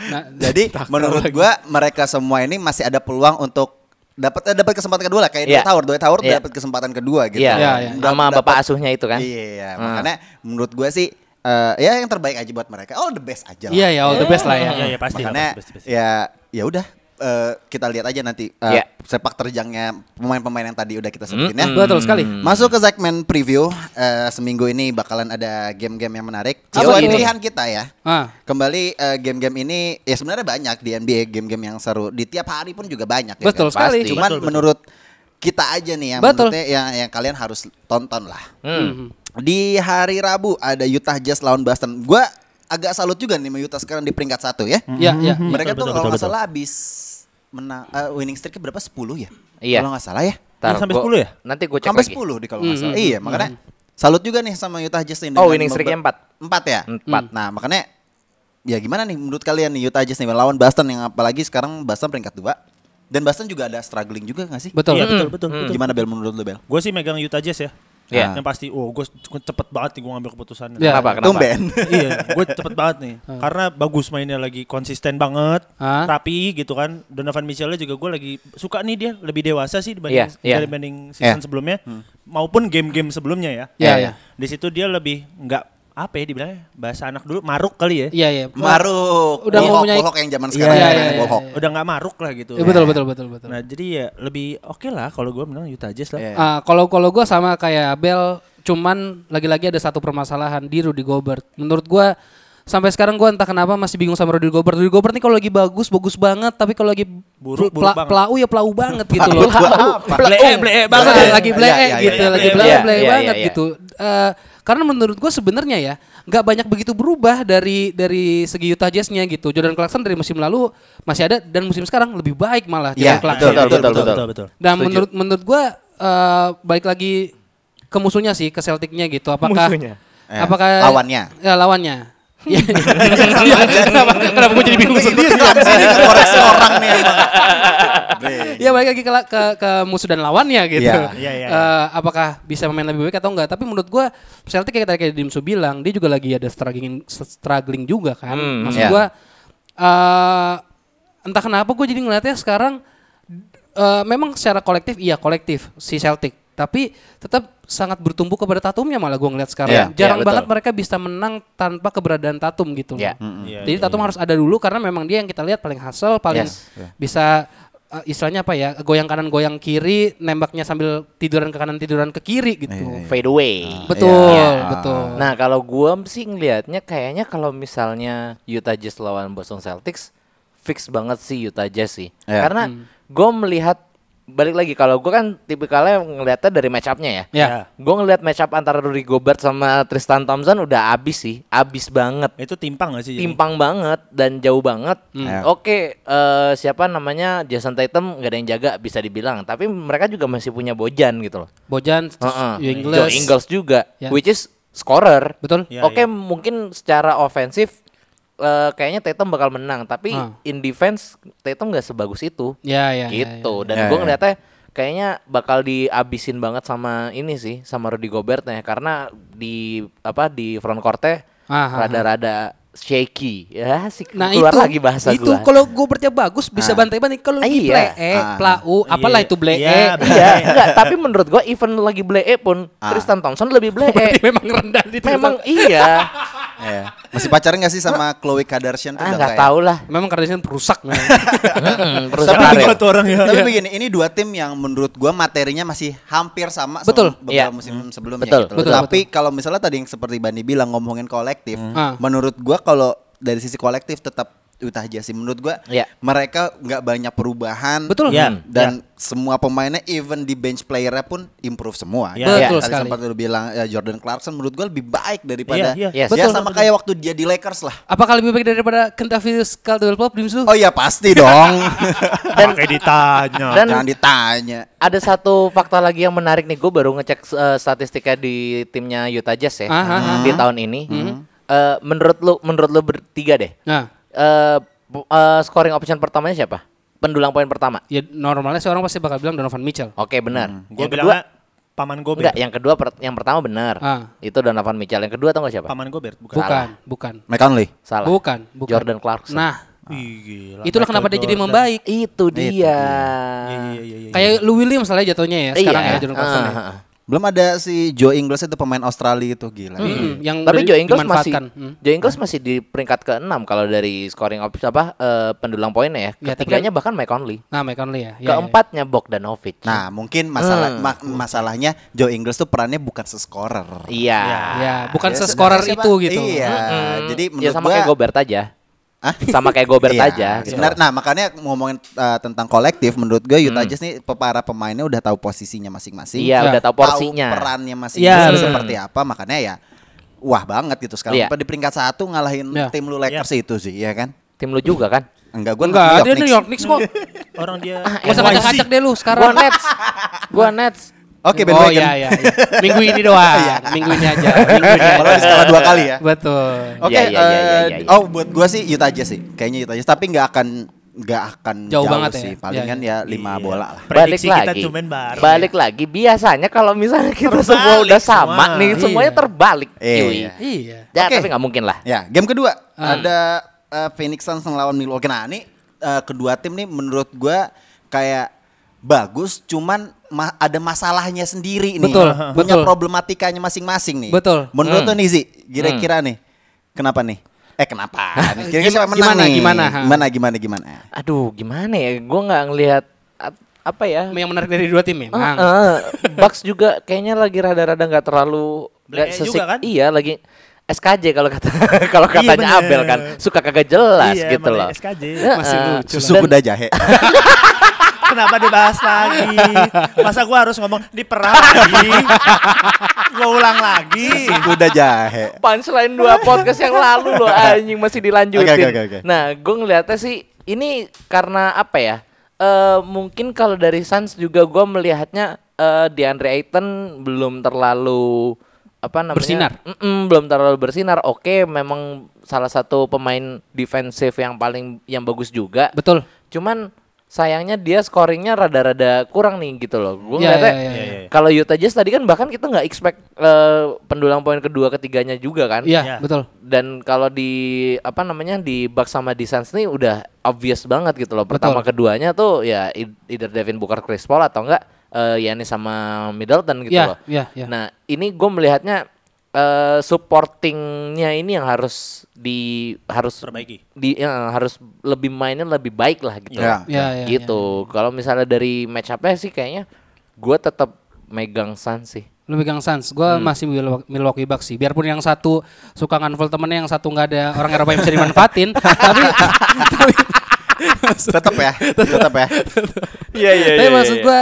Nah, Jadi menurut gua mereka semua ini masih ada peluang untuk dapat eh, dapat kesempatan kedua lah kayak Iya. Dwight Howard, Dwight Howard Iya. dapat kesempatan kedua gitu. Iya, Iya, iya. sama Dapat- bapak asuhnya itu kan. Hmm. Iya, makanya menurut gue sih eh, ya yang terbaik aja buat mereka. All Oh, the best aja. lah. Iya, ya all the best lah ya. Iya, iya pasti. lah, makanya pasti, pasti, pasti. ya ya udah eh, kita lihat aja nanti eh, Iya. sepak terjangnya pemain-pemain yang tadi udah kita sebutin ya. Betul sekali. Masuk ke segmen preview Eh, seminggu ini bakalan ada game-game yang menarik Apa sesuai tuh? pilihan kita ya. Ah. Kembali eh, game-game ini ya sebenarnya banyak di NBA game-game yang seru di tiap hari pun juga banyak. ya Betul kan? sekali. Iya, Pasti. Cuman menurut kita aja nih yang Betul. menurutnya yang yang kalian harus tonton lah. Hmm. Di hari Rabu ada Utah Jazz lawan Boston. Gua agak salut juga nih sama Utah sekarang di peringkat satu ya. Ya, Iya, ya. Mereka tuh Betul, kalau betul, betul, nggak salah habis menang eh, winning streaknya berapa 10 ya? Iya. Kalau nggak salah ya. Ntar Sampai gua- 10 ya? Nanti gue cek Sampai lagi. Hmm, 10 di kalau nggak salah. Iya, makanya salut juga nih sama Utah Jazz nih. Oh, dengan winning membe- streaknya empat. Empat ya? Empat. Nah, makanya ya gimana nih menurut kalian nih Utah Jazz nih lawan Boston yang apalagi sekarang Boston peringkat dua dan Boston juga ada struggling juga nggak sih? Betul. Iya, betul, betul, Hmm. betul. Gimana Bel menurut lu Bel? Gue sih megang Utah Jazz ya. Iya. Yang pasti, oh gue cepet banget nih gue ngambil keputusannya. Iya. Kenapa? Kenapa? Tumben. iya, gue cepet banget nih. Karena bagus mainnya lagi konsisten banget, Ah. rapi gitu kan. Donovan Mitchell-nya juga gue lagi suka nih dia lebih dewasa sih dibanding Iya, iya. dibanding season Iya. sebelumnya maupun game-game sebelumnya ya. Hmm. Iya, Eh, iya. Di situ dia lebih nggak apa ya dibilangnya bahasa anak dulu maruk kali ya. Iya, iya. Maruk. Udah Bohok- mempunyai- bohok yang zaman sekarang Iya, ya, iya, kan, iya, bohok. Udah nggak maruk lah gitu. Iya, betul, betul, betul, betul. Nah jadi ya lebih oke lah kalau gue menang Utah Jazz lah. Iya. Ah, kalau kalau gue sama kayak Abel, cuman lagi-lagi ada satu permasalahan di Rudy Gobert. Menurut gua sampai sekarang gua entah kenapa masih bingung sama Rudy Gobert. Rudy Gobert nih kalau lagi bagus bagus banget, tapi kalau lagi Buruk, pla- buruk banget. pelau ya pelau banget gitu eh, loh. Blee, blee eh, banget. Nah, lagi Iya, blee iya, iya, gitu, iya, lagi iya, blee iya, blee iya, banget iya. gitu. Eh, karena menurut gue sebenarnya ya nggak banyak begitu berubah dari dari segi Utah Jazz-nya gitu. Jordan Clarkson dari musim lalu masih ada dan musim sekarang lebih baik malah Jordan Iya, Clarkson. betul, betul, betul. betul. Dan menurut menurut gua eh, balik lagi ke musuhnya sih, ke Celticnya gitu. Apakah Musuhnya? Eh, apakah lawannya. Ya, lawannya. Ya. kenapa kenapa gue jadi bingung sendiri? Sini koreksi orang nih emang. ya balik lagi ke, la- ke, ke musuh dan lawannya gitu. Iya. Iya, iya, Eh, apakah bisa memain lebih baik atau enggak? Tapi menurut gua Celtic kayak tadi kayak Dimsu bilang, dia juga lagi ada struggling struggling juga kan. Hmm, Maksud iya. gua eh, entah kenapa gue jadi ngeliatnya sekarang eh, memang secara kolektif iya kolektif si Celtic, tapi tetap sangat bertumbuh kepada Tatumnya malah gua ngeliat sekarang. Iya, iya, Jarang betul. banget mereka bisa menang tanpa keberadaan Tatum gitu. loh. Iya. Iya, Jadi Tatum harus ada dulu karena memang dia yang kita lihat paling hasil, paling Yes. bisa uh, istilahnya apa ya, goyang kanan goyang kiri, nembaknya sambil tiduran ke kanan tiduran ke kiri gitu. Fade away. Betul, Iya. betul. Iya, Nah kalau gua sih ngelihatnya kayaknya kalau misalnya Utah Jazz lawan Boston Celtics fix banget sih Utah Jazz sih. Iya. Karena gua melihat balik lagi kalau gua kan tipikalnya ngelihatnya dari match up-nya ya. ya. Gue ngelihat match up antara Rudy Gobert sama Tristan Thompson udah abis sih, abis banget. Itu timpang gak sih? jadi? Timpang banget dan jauh banget. Hmm. Oke, eh, siapa namanya Jason Tatum nggak ada yang jaga bisa dibilang. Tapi mereka juga masih punya Bojan gitu loh. Bojan, terus Heeh. Joe Ingles. Joe Ingles Iya. juga, Ya. which is scorer. Betul. Ya, Oke, ya. mungkin secara ofensif eh, kayaknya Tatum bakal menang. Tapi Ah. in defense Tatum nggak sebagus itu Ya, ya. ya, gitu ya. dan Ya, gue ya. ngeliatnya kayaknya bakal diabisin banget sama ini sih sama Rudy Gobert ya karena di apa di front courtnya Aha. rada-rada shaky ya sih Ah, Nah keluar itu lagi bahasa itu gua. kalau Gobertnya bagus bisa bantai-bantai kalau lagi Iya. plee, Ah. plau, apalah Iya. itu E. blee. Iya, Iya, enggak, tapi menurut gua even lagi blee pun Ah. Tristan Thompson lebih blee. Berarti memang rendah di Memang iya. Iya. Masih pacaran gak sih sama Khloe Kardashian tuh ah, udah ya? enggak kayak- tahu lah. Memang Kardashian perusak. memang. Mm, terus Tapi karir. buat orang ya. Tapi begini, ini dua tim yang menurut gua materinya masih hampir sama Betul, Hmm. sama beberapa iya. musim sebelumnya. Betul, gitu loh. betul, Tapi kalau misalnya tadi yang seperti Bani bilang ngomongin kolektif, Ah. menurut gua kalau dari sisi kolektif tetap Utah Jazz sih. menurut gua Iya. mereka nggak banyak perubahan. Betul. Iya. Dan Ya. semua pemainnya even di bench playernya pun improve semua. Iya. Ya, Betul Tadi sekali. sempat lu bilang ya, Jordan Clarkson menurut gua lebih baik daripada Iya, iya. ya Betul, sama betul. kayak waktu dia di Lakers lah. Apakah lebih baik daripada Kentavious Caldwell Pope Dimsu? Oh iya pasti dong. Dan- Pakai ditanya. dan Jangan ditanya. ada satu fakta lagi yang menarik nih gue baru ngecek eh, statistika di timnya Utah Jazz ya Ah, ah, ah, Hmm. di tahun ini Eh, menurut lu menurut lu bertiga deh Nah, eh, bu- eh, scoring option pertamanya siapa pendulang poin pertama ya normalnya seorang pasti bakal bilang Donovan Mitchell. oke Hmm, benar Gue yang kedua bilang paman Gobert. enggak iya. yang kedua per- yang pertama benar Ah. itu Donovan Mitchell yang kedua tau gak siapa Paman Gobert bukan. Bukan, bukan. McConley. salah Bukan, bukan. Jordan Clarkson Nah, Ih, gila. itulah kenapa dia jadi membaik. itu dia Iya, iya, iya, iya. Kayak Lou Williams lah jatuhnya ya sekarang ya Jordan Clarkson. ya. Iya. Ah, ah, ah. Belum ada si Joe Ingles itu pemain Australia itu gila. Hmm. Mm-mm, Hmm, yang Tapi udah Joe Ingles masih dimanfaatkan. Hmm. Joe Ingles masih di peringkat ke-6 kalau dari scoring op- apa eh, pendulang poinnya ya. Ya, tapi Ketiganya bahkan Mike Conley. Nah, Mike Conley ya. Ya, ya, ya. Keempatnya Bogdanovic. Nah, mungkin masalah Hmm. ma- masalahnya Joe Ingles tuh perannya bukan seskorer. Iya. Ya, bukan Dia seskorer sebenarnya itu siapa- gitu. Iya. Jadi ya menurut sama gua kayak Gobert aja. Hah? Sama kayak Gobert Iya, aja. gitu. Sebenarnya nah makanya ngomongin uh, tentang kolektif menurut gue Utah Jazz nih pe- para pemainnya udah tahu posisinya masing-masing. Hmm. Iya, Ya, udah tahu Tahu porsinya. perannya Iya, masing-masing bener. seperti apa makanya ya wah banget gitu sekarang Iya. Apa di peringkat satu ngalahin Iya. tim lu Lakers itu sih ya kan? Tim lu juga kan? Enggak gue Enggak, dia New York Knicks kok. Orang dia Gak usah ngajak-ngajak deh lu Gua sekarang. Nets. Gua Nets. Oke, Ben Oh Wagen. iya, iya, iya. Minggu ini doang. Minggu ini aja. Minggu ini Kalau aja. di skala dua kali ya. Betul. Oke, Iya, iya, iya, iya, eh, iya, iya. oh buat gua sih Utah Jazz sih. Kayaknya Utah Jazz tapi nggak akan nggak akan Jauh banget ya. sih. Iya, Palingan iya. ya lima bola lah. prediksi Balik kita lagi. cuman bareng. Balik lagi biasanya kalau misalnya kita semua Terbalik udah sama semua. nih semuanya Iya. terbalik. Iya. cuy. Iya. Ya, Oke. tapi nggak mungkin lah. Ya, game kedua Hmm. ada uh, Phoenix Suns melawan Milwaukee. Nah, ini uh, kedua tim nih menurut gua kayak bagus, cuman ma- ada masalahnya sendiri nih. Betul, Punya betul. problematikanya masing-masing nih. Betul. Hmm. Menurut lo nih Zi, kira-kira nih kenapa nih? Eh kenapa? nih? Kira-kira Gimana- siapa menang gimana, nih? gimana? Ha. Gimana gimana gimana? Aduh, gimana ya? Gua nggak ngelihat ap- apa ya? Yang menarik dari dua tim memang. Heeh. Bucks juga kayaknya lagi rada-rada nggak terlalu nggak Black-nya sesik. juga kan? Iya, Iya, lagi SKJ kalau kata kalau katanya bener. Abel kan suka kagak jelas Iya, gitu makanya loh. SKJ. Heeh. Masih lucu Susu Dan- kuda jahe. Iya. Kenapa dibahas lagi? Masa gua harus ngomong diperang lagi? Gua ulang lagi. Susu kuda jahe. punchline dua podcast yang lalu loh anjing masih dilanjutin. Oke, oke, oke, oke. Nah, gue ngeliatnya sih ini karena apa ya? Eh mungkin kalau dari Suns juga gue melihatnya eh DeAndre Ayton belum terlalu apa namanya? Bersinar. Mm-mm, belum terlalu bersinar. Oke, memang salah satu pemain defensif yang paling yang bagus juga. Betul. Cuman sayangnya dia scoringnya rada-rada kurang nih gitu loh. Gue Iya, ngeliatnya iya, iya, iya. kalau Utah Jazz tadi kan bahkan kita nggak expect eh, pendulang poin kedua ketiganya juga kan. Iya, Ya. betul. Dan kalau di apa namanya di Bucks sama di Suns nih udah obvious banget gitu loh. Pertama Betul. keduanya tuh ya ei- either Devin Booker Chris Paul atau enggak eh Giannis sama Middleton gitu Iya, loh. iya, iya. Nah, ini gue melihatnya eh supportingnya ini yang harus di harus Perbaiki. di ya, harus lebih mainnya lebih baik lah gitu. Ya. Iya, iya, gitu. Kalau misalnya dari match up-nya sih kayaknya gue tetap megang Suns sih. Lu pegang Suns, gue Hmm. masih Mil- Milwaukee Bucks sih. Biarpun yang satu suka nganfol temennya, yang satu nggak ada orang Eropa yang bisa dimanfaatin, tapi tapi, Tetap ya, tetap ya. Iya iya. tapi maksud eh, gue,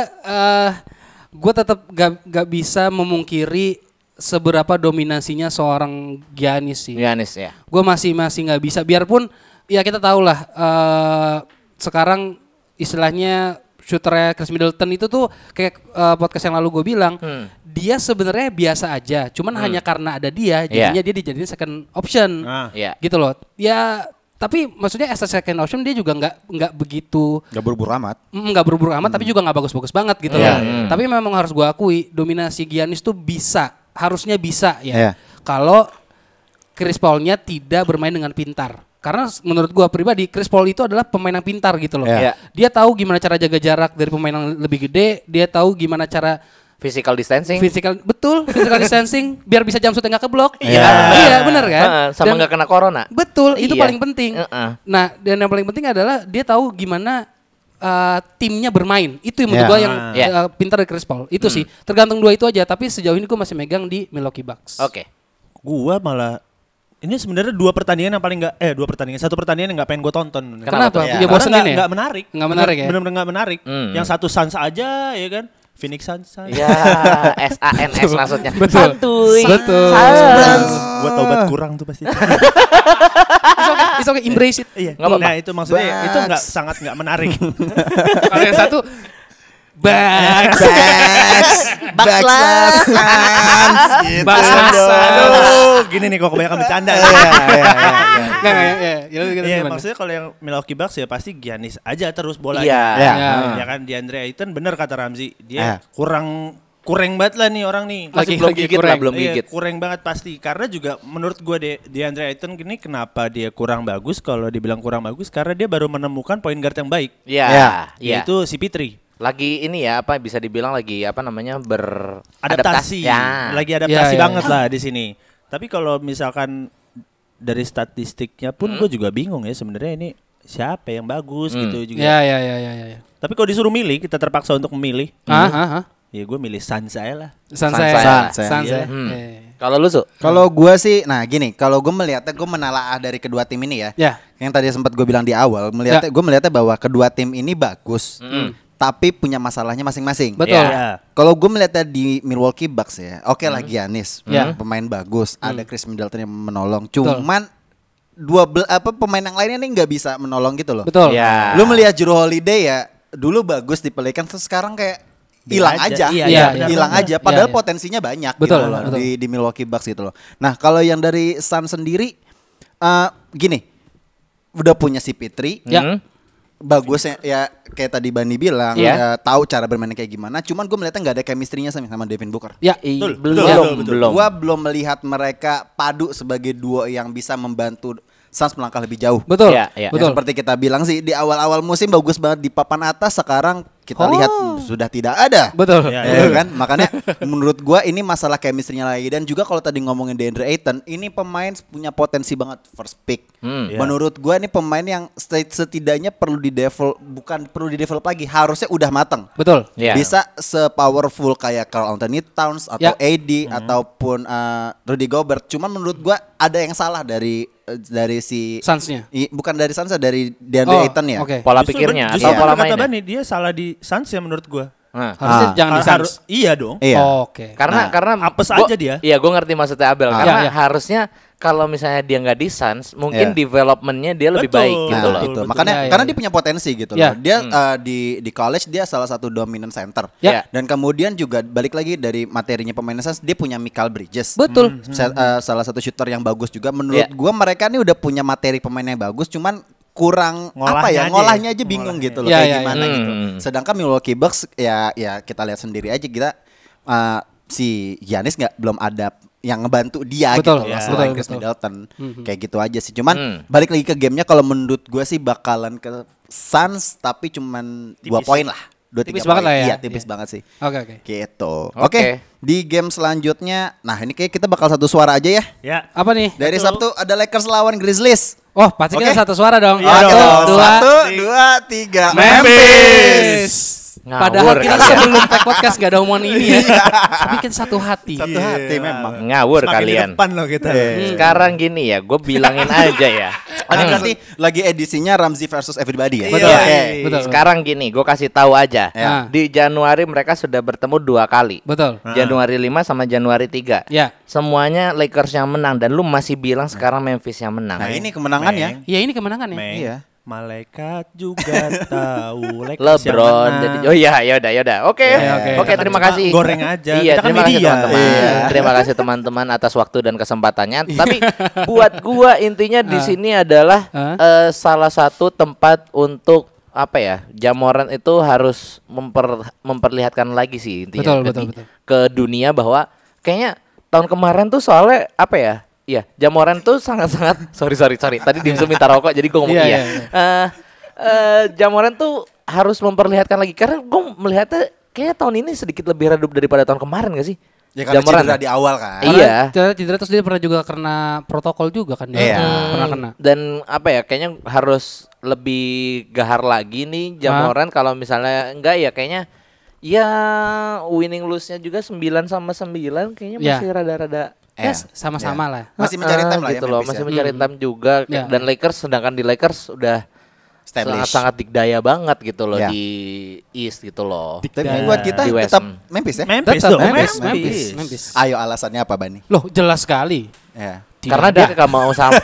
gue tetap gak, gak bisa memungkiri seberapa dominasinya seorang Giannis sih. Giannis ya. Gue masih masih nggak bisa. Biarpun ya kita tahu lah eh, sekarang istilahnya shooternya Chris Middleton itu tuh kayak eh, podcast yang lalu gue bilang dia sebenarnya biasa aja. Cuman hanya karena ada dia jadinya dia dijadiin second option. Nah. Iya. Gitu loh. Ya tapi maksudnya as a second option dia juga nggak nggak begitu Gak buru-buru amat. Mm, nggak buru-buru amat tapi juga nggak bagus-bagus banget gitu Iya, loh. Tapi memang harus gua akui dominasi Giannis tuh bisa, harusnya bisa Iya. ya. Kalau Chris Paul-nya tidak bermain dengan pintar. Karena s- menurut gua pribadi Chris Paul itu adalah pemain yang pintar gitu loh. Iya. Dia tahu gimana cara jaga jarak dari pemain yang lebih gede, dia tahu gimana cara Physical distancing. physical betul, physical distancing biar bisa jam shotnya nggak keblok. Iya. Iya, benar kan? Heeh, Ah, sama Dan- nggak kena corona. Betul, itu Iya. paling penting. Heeh. Nah, dan yang paling penting adalah dia tahu gimana uh, timnya bermain. Itu yang menurut Ya. Iya. gua yang Ya. uh, pintar dari Chris Paul. Hmm. Itu sih, tergantung dua itu aja. Tapi sejauh ini gua masih megang di Milwaukee Bucks. Oke. Gua malah ini sebenarnya dua pertandingan yang paling nggak eh dua pertandingan satu pertandingan yang nggak pengen gue tonton. Kenapa? Ya. Ya, bosan ini ya? Karena nggak- nggak menarik. Nggak menarik ya? Benar-benar nggak menarik. Hmm. Yang satu Suns aja ya kan. Phoenix Suns. Suns. Iya. Ya, S A N S maksudnya. Betul. Santuy. Betul. Sans. Gua taubat kurang tuh pasti. It's okay, it's okay, embrace it. Iya. Nggak apa-apa. Nah itu maksudnya itu nggak Bucks. sangat nggak menarik. Kalau yang satu Bucks, Bucks, Bucks lah, Suns. Iya. Gitu Bucks. dong. Aduh, gini nih kok kebanyakan bercanda. Iya, iya, iya, iya. Nggak, nggak, ya, ya. Ya, lu gimana? Iya, maksudnya kalau yang Milwaukee Bucks ya pasti Giannis aja terus bolanya. Iya. Ya. Ya. Ya kan DeAndre Ayton bener kata Ramzi, Ah. dia kurang kurang banget lah nih orang nih. Masih Lagi- belum lagi gigit lah, kurang. belum Iya, gigit. kurang banget pasti karena juga menurut gue de DeAndre Ayton gini kenapa dia kurang bagus kalau dibilang kurang bagus karena dia baru menemukan point guard yang baik Iya. Ya. Iya. yaitu si Pitri. lagi ini ya apa bisa dibilang lagi apa namanya beradaptasi adaptasi, ya. lagi Ya, adaptasi ya. banget lah di sini. Tapi kalau misalkan dari statistiknya Hmm. pun gue juga bingung ya sebenarnya ini siapa yang bagus gitu Iya, juga. Ya ya ya ya ya. ya. Tapi kalau disuruh milih kita terpaksa untuk memilih. Ah, ah, ah. Ya gue milih Sans aja lah. San Sansei. saya. Sansei. San saya. Hmm. Ya, ya. Kalau lu Su? Kalau gua sih, nah gini, kalau gua melihatnya gua menalaah dari kedua tim ini ya. Ya. Yang tadi sempat gue bilang di awal, melihatnya gua melihatnya bahwa kedua tim ini bagus, tapi punya masalahnya masing-masing. Betul. Iya. Eh, Ya. Kalau gue melihatnya di Milwaukee Bucks ya, oke lah Giannis, Ya. pemain bagus, ada Chris Middleton yang menolong, cuman dua bel- apa pemain yang lainnya nih nggak bisa menolong gitu loh. Betul. Ya. Lu melihat Juru Holiday ya, dulu bagus di Pelican terus sekarang kayak hilang aja. aja. iya, Iya, Iya, benar, hilang benar. aja padahal Iya, iya. potensinya banyak Betul, gitu loh betul. di di Milwaukee Bucks gitu loh. Nah, kalau yang dari Sun sendiri eh, gini, udah punya si Pitri, Ya. Hmm? bagusnya ya kayak tadi Bani bilang Iya. ya, tahu cara bermain kayak gimana, cuman gue melihatnya nggak ada chemistry-nya sama, sama Devin Booker. Ya. I- Betul, belum betul, betul, betul. belum. Gua belum melihat mereka padu sebagai duo yang bisa membantu Suns melangkah lebih jauh. Betul. Ya, ya. Ya, Betul. seperti kita bilang sih di awal-awal musim bagus banget di papan atas, sekarang Oh. kita lihat sudah tidak ada. Betul. Ya, Ya kan? Makanya menurut gua ini masalah chemistry-nya lagi dan juga kalau tadi ngomongin Deandre Ayton, ini pemain punya potensi banget first pick. Hmm. Iya. Menurut gua ini pemain yang seti- setidaknya perlu di develop bukan perlu di develop lagi, harusnya udah matang. Betul. Iya. Bisa se-powerful kayak Carl Anthony Towns Ya. atau AD ataupun eh, Rudy Gobert. Cuman menurut gua ada yang salah dari eh, dari si Sansnya. I- Iya, bukan dari Suns dari DeAndre Oh, Ayton ya. oke. Pola Justru ben- pikirnya justru atau bener pola kata mainnya? Bani, dia salah di Sans ya menurut gue. Nah. Harusnya Ah. jangan di Eh. Suns. iya dong. Iya. Oke. Karena Nah, karena apes gua- aja dia. Iya, gue ngerti maksudnya Abel. Ah. Karena Iya, iya. harusnya kalau misalnya dia nggak di Suns, mungkin Iya. developmentnya dia lebih Betul. baik gitu Nah, loh. itu. betul. Makanya Ya, ya, karena ya. dia punya potensi gitu Ya. loh. Dia eh, di di college dia salah satu dominant center. Ya. Dan kemudian juga balik lagi dari materinya pemain Suns dia punya Michael Bridges. Betul. Iya. Sa- eh, salah satu shooter yang bagus juga menurut Ya. gua mereka nih udah punya materi pemain yang bagus cuman kurang Ngolahnya apa ya aja ya. ngolahnya aja bingung gitu loh Ya, kayak ya, ya. gimana gitu. Hmm. Sedangkan Milwaukee Bucks ya ya kita lihat sendiri aja kita eh, si Giannis nggak belum ada yang ngebantu dia Betul, gitu loh, ya. selain betul, Chris betul. Middleton Mhm. kayak gitu aja sih cuman Hmm. balik lagi ke gamenya kalau menurut gue sih bakalan ke Suns tapi cuman dua poin lah dua Tipis tiga banget poin. lah ya. iya tipis Iya. banget sih Oke oke. gitu oke Oke. di game selanjutnya nah ini kayak kita bakal satu suara aja ya Ya. Apa nih? dari Sabtu ada Lakers lawan Grizzlies Oh, pasti kita Oke. satu suara dong. Iya Satu, dong. dua. Iya. satu dua tiga Memphis. Ngawur Padahal kita kalian. sebelum tag podcast gak ada omongan ini ya. Tapi kita satu hati. satu hati memang Ngawur Semakin ya. di kalian. Hmm. depan loh kita. Eh. Iya. Sekarang gini ya, gue bilangin aja ya. Ini Hmm. berarti lagi edisinya Ramzi versus everybody ya Betul. Oke. Betul, Iya. Betul. Sekarang gini, gue kasih tahu aja. Ya. Di Januari mereka sudah bertemu dua kali. Betul. Januari 5 sama Januari 3. Ya. Semuanya Lakers yang menang dan lu masih bilang sekarang Memphis yang menang. nah ini kemenangannya Ya ini kemenangan ya. Meng, Iya. Malaikat juga tahu Lakers yang LeBron menang. jadi oh iya yaudah yaudah oke oke. oke Kita terima cuma kasih goreng aja. iya Kita kan terima kasih media. teman-teman Iya. terima kasih teman-teman atas waktu dan kesempatannya tapi buat gua intinya di Ah. sini adalah Ah. eh, salah satu tempat untuk apa ya Jamoran itu harus memper- memperlihatkan lagi sih intinya Betul, ke, betul, di- betul. ke dunia bahwa kayaknya tahun kemarin tuh soalnya apa ya Iya, Jamoran tuh sangat-sangat sorry sorry sorry. Tadi dimsum minta rokok jadi gua ngomong Iya, iya. iya, iya. Eh, eh, Jamoran tuh harus memperlihatkan lagi karena gue melihatnya kayaknya tahun ini sedikit lebih redup daripada tahun kemarin gak sih? ya karena cedera di awal kan Iya. Karena cedera terus dia pernah juga kena protokol juga kan dia. Iya. Hmm, Pernah kena. Dan apa ya? Kayaknya harus lebih gahar lagi nih Jamoran kalau misalnya enggak ya kayaknya ya winning lose-nya juga 9 sama 9 kayaknya Iya. masih rada-rada Ya, sama-sama lah. masih mencari Ah, time lah ya gitu loh, Memphis masih ya. mencari time juga Iya. dan Lakers sedangkan di Lakers udah Established. sangat-sangat dikdaya banget gitu loh Iya. di East gitu loh. tapi buat Di kita West. tetap Memphis ya Memphis Tetap dong. Memphis, Memphis. Memphis, Memphis. Memphis. ayo alasannya apa Bani Loh, jelas sekali. ya Tidak Karena dia gak mau sama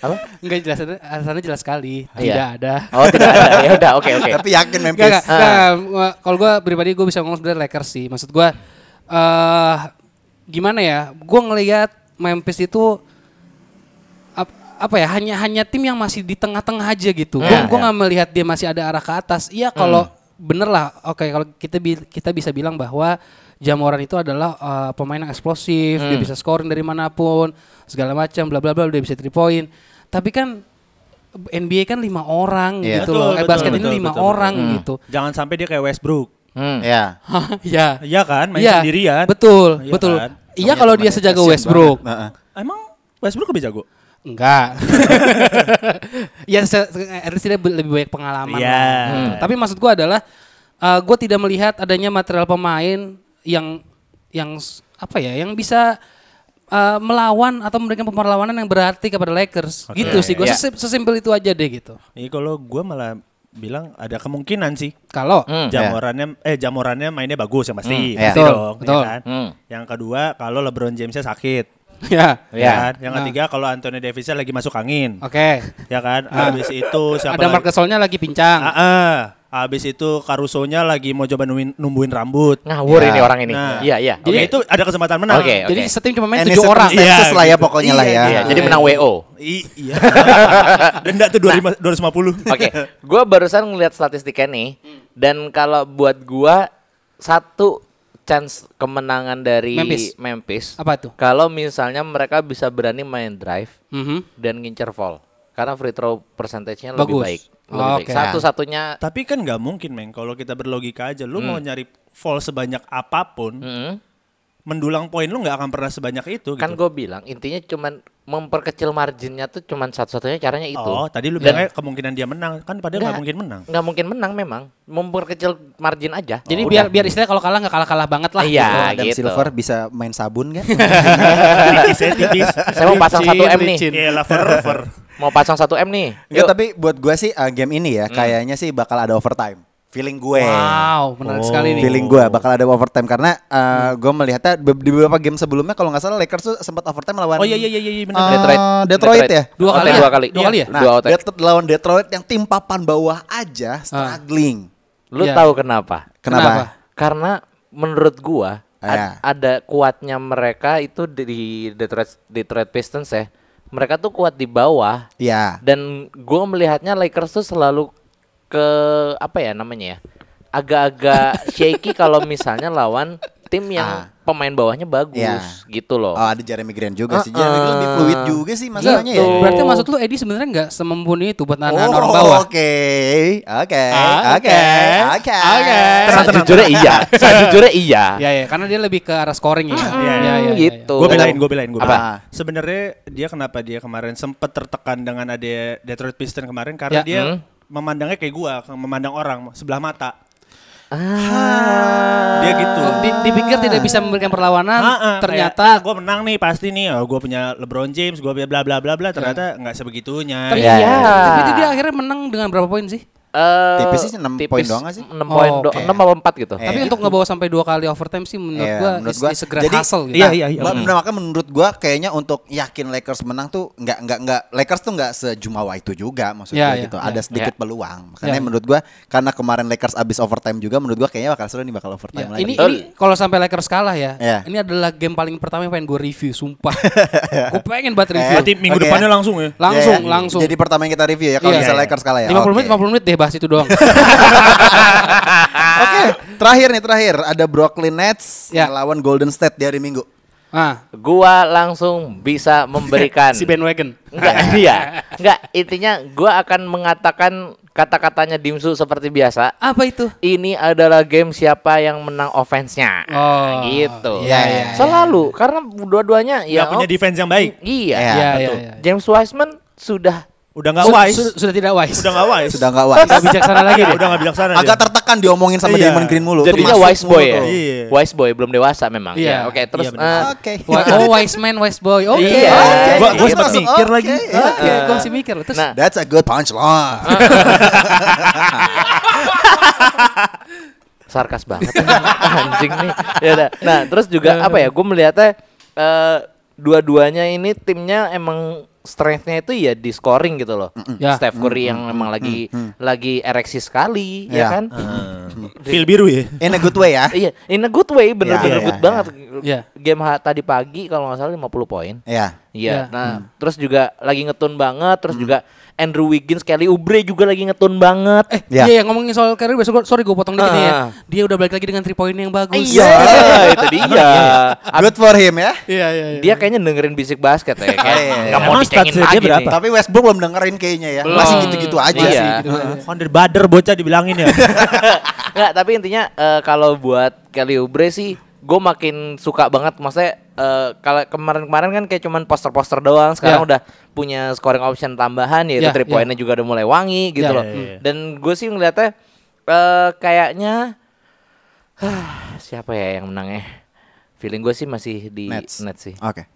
Apa? Enggak jelas, alasannya jelas sekali. Tidak Iya. ada. Oh tidak ada ya udah oke oke. tapi yakin Enggak, Memphis enggak, enggak. Gua- Kalau gue pribadi gue bisa ngomong sebenarnya Lakers sih. Maksud gue eh gimana ya? Gue ngelihat Memphis itu ap- apa ya? Hanya hanya tim yang masih di tengah-tengah aja gitu. Gue Ya, gue nggak melihat dia masih ada arah ke atas. Iya kalau bener lah. Oke kalau kita bi- kita bisa bilang bahwa Jamoran itu adalah eh, pemain yang eksplosif, dia bisa scoring dari manapun, segala macam, bla bla bla, dia bisa three point. Tapi kan NBA kan lima orang Iya. gitu Betul, loh. Eh, betul, basket ini betul, lima betul, orang gitu. Jangan sampai dia kayak Westbrook. Hmm. Ya. Hah, ya. Iya kan, main Iya, sendirian. Betul, Iya betul. kan? Iya. Iya kalau dia sejago Westbrook. Emang Westbrook lebih jago? Enggak. ya se- at least dia be- lebih banyak pengalaman. Iya. lah, gitu. Tapi maksud gua adalah eh gua tidak melihat adanya material pemain yang yang s- apa ya, yang bisa eh, melawan atau memberikan perlawanan yang berarti kepada Lakers. gitu sih gua iya. sesim- sesimpel itu aja deh gitu. Ini kalau gue malah bilang ada kemungkinan sih. Kalau Hmm. Ya. Jamorannya eh jamorannya mainnya bagus yang pasti, Hmm, iya. pasti Betul, dong, ya betul. kan? Hmm. Yang kedua kalau LeBron Jamesnya sakit, ya. ya Iya. kan? Yang ketiga kalau Anthony Davisnya lagi masuk angin, Oke. ya kan? Habis itu siapa Ada lagi? Markesolnya lagi pincang. Ah, ah. Habis itu Caruso-nya lagi mau coba numbuhin, numbuhin rambut. Ngawur Ya. ini orang ini. Nah. Iya, iya. oke. Jadi itu ada kesempatan menang. Oke. Jadi setim cuma main Any tujuh orang. Iya, circumstances lah ya gitu. pokoknya lah Iya, ya. Iya, jadi menang WO. I- iya. Denda tuh 25 250. Nah. Oke, gua barusan ngelihat statistiknya nih dan kalau buat gua satu chance kemenangan dari Memphis. Memphis, Apa tuh? Gitu. kalau misalnya mereka bisa berani main drive Mhm. dan ngincer fall karena free throw percentage-nya Bagus. lebih baik. Lebih Oh, baik. oke. Gitu. Satu-satunya Tapi kan nggak mungkin, Meng. Kalau kita berlogika aja, lu mau Hmm. nyari fall sebanyak apapun, Mm-mm. mendulang poin lu nggak akan pernah sebanyak itu Hmm. kan gitu. gue bilang intinya cuman memperkecil marginnya tuh cuman satu-satunya caranya itu. Oh, tadi lu bilangnya kemungkinan dia menang. Kan gitu. padahal nggak Nggak. mungkin menang. nggak mungkin menang memang memperkecil margin aja. Jadi Oh, biar udah. biar istilah kalau kalah nggak kalah kalah banget lah. Iya. gitu. Ah, Adam gitu. Silver bisa main sabun kan? nggak? tipis ya, tipis. saya mau pasang Licin, 1 M nih. licin. Iya, lover, lover. Mau pasang 1 M nih. Enggak, Yuk. Ya, Hmm. tapi buat gue sih uh, game ini ya kayaknya sih bakal ada overtime. Feeling gue. Wow, menarik sekali nih. Feeling gue Oh. bakal ada overtime karena uh, Hmm. gue melihatnya be- di beberapa game sebelumnya kalau nggak salah Lakers tuh sempat overtime lawan Oh iya iya iya iya benar. Ah, Detroit. Detroit ya? Dua kali Otak eh, ya? Dua kali. Iya, Dua kali ya? Nah, Dua otak. Det- lawan Detroit yang tim papan bawah aja struggling. Lu Iya. tahu kenapa? Kenapa? Karena menurut gua Ya. ad- ada kuatnya mereka itu di Detroit Detroit Pistons ya. Mereka tuh kuat di bawah Ya. dan gua melihatnya Lakers tuh selalu ke apa ya namanya ya? Agak-agak shaky kalau misalnya lawan tim yang pemain bawahnya bagus Ya. gitu loh. Ah. Oh, ada Jeremy Grant juga sih. Ah, Jeremy ah. Grant lebih fluid juga sih masalahnya Iya, ya. Gitu. Berarti maksud lu Edi sebenarnya nggak semumpuni itu buat anak-anak Oh, orang bawah. Oke, oke, Ah, oke, oke, oke, oke. Eh, Sejujurnya iya, sejujurnya iya. Ya ya, karena dia lebih ke arah scoring ya. Ah, iya, Ya, ya, ya, gitu. Gue belain, gue belain, gue Apa? belain. Sebenarnya dia kenapa dia kemarin sempet tertekan dengan ada Detroit Pistons kemarin Ya. karena dia Hmm. memandangnya kayak gua, memandang orang sebelah mata. Ah. Dia gitu. Ah, Oh, di- dipikir tidak bisa memberikan perlawanan, Ah, iya. ternyata gue menang nih pasti nih. Oh, gue punya LeBron James, gue punya bla bla bla bla. Ternyata nggak sebegitunya. Ya. tapi, Iya. tapi itu dia akhirnya menang dengan berapa poin sih? Eh, Tipis sih enam poin doang nggak sih? 6 poin Oh, do- oke. enam apa 4 gitu. Eh. Tapi untuk ngebawa sampai dua kali overtime sih menurut Iya, gua is, is a great Jadi, hustle gitu. Iya, nah, iya, iya. ma- nah, maka menurut gua kayaknya untuk yakin Lakers menang tuh nggak nggak nggak Lakers tuh nggak sejumawa itu juga maksudnya Iya, gitu. iya, Ada iya. sedikit peluang. Makanya Iya. menurut gua karena kemarin Lakers abis overtime juga menurut gua kayaknya bakal seru nih bakal Ya, overtime lagi. ini ini kalau sampai Lakers kalah ya, Iya. ini adalah game paling pertama yang pengen gue review, sumpah. gue pengen banget review. Berarti minggu Oke. depannya langsung ya. Langsung, Eh, Iya, iya. langsung. Jadi pertama yang kita review ya kalau Iya. bisa Lakers kalah ya. 50 Oke. menit, 50 menit deh bahas itu doang. Oke, Eh, terakhir nih terakhir ada Brooklyn Nets Ya. melawan Golden State di hari Minggu. ah, Gua langsung bisa memberikan si bandwagon. Kan. Enggak, iya. Enggak, intinya gua akan mengatakan kata-katanya Dimsu seperti biasa. Apa itu? Ini adalah game siapa yang menang offense-nya. Oh, gitu. iya, iya, Selalu karena dua-duanya ya Nggak punya oh, defense yang baik. Iya. Iya, Iya, iya, betul. iya. James Wiseman sudah Udah nggak Sud- wise. sud- Sudah tidak wise. Udah nggak wise. Sudah nggak wise. Nggak bijaksana lagi Iya, deh. Udah nggak bijaksana. Agak dia. tertekan diomongin sama Iya. Damon Green mulu. ya. jadinya Termasuk wise boy mulu ya. tuh. Iya. Wise boy belum dewasa memang. Ya, Iya. oke, terus Iya, benar. eh, Oke. Wa- oh wise man, wise boy. Oke. Iya. Oke. Gua- gua Gitu. sempet mikir Oke, lagi. iya. Oke, gue masih mikir loh. Terus Nah. That's a good punchline. Ah. sarkas banget anjing nih. Ya udah. Nah, terus juga apa ya? Gue melihatnya eh, dua-duanya ini timnya emang strength-nya itu ya di scoring gitu loh. Ya. Steph Curry yang emang lagi lagi ereksi sekali ya, Ya. kan? Feel biru ya. In a good way ya. Iya, in a good way bener-bener Ya, ya, good ya. banget. Ya. Game ha- tadi pagi kalau nggak salah 50 poin. Iya. Iya. Ya. Mm. Nah, terus juga lagi ngetun banget, terus juga Andrew Wiggins, Kelly Oubre juga lagi ngetun banget. Eh, Ya. iya yang ngomongin soal karir besok gua- sorry gue potong dikit nih ya. Ah. Dia udah balik lagi dengan three point yang bagus. iya, itu dia. Good for him ya. Iya, iya, iya. Dia kayaknya dengerin bisik basket ya, kayak iya, iya. nggak mau Emang dicengin statsnya lagi dia berapa? nih. Tapi Westbrook belum dengerin kayaknya ya. Masih gitu. Belum. gitu-gitu aja Iya. sih. Under bader bocah dibilangin ya. Nggak, tapi intinya eh, kalau buat Kelly Oubre sih gue makin suka banget maksudnya eh, kalau kemarin-kemarin kan kayak cuman poster-poster doang sekarang Ya. udah punya scoring option tambahan yaitu Ya, three ya. pointnya juga udah mulai wangi gitu Ya, loh ya, ya, ya. dan gue sih ngeliatnya eh, kayaknya siapa ya yang menangnya feeling gue sih masih di Nets. Nets, sih Oke.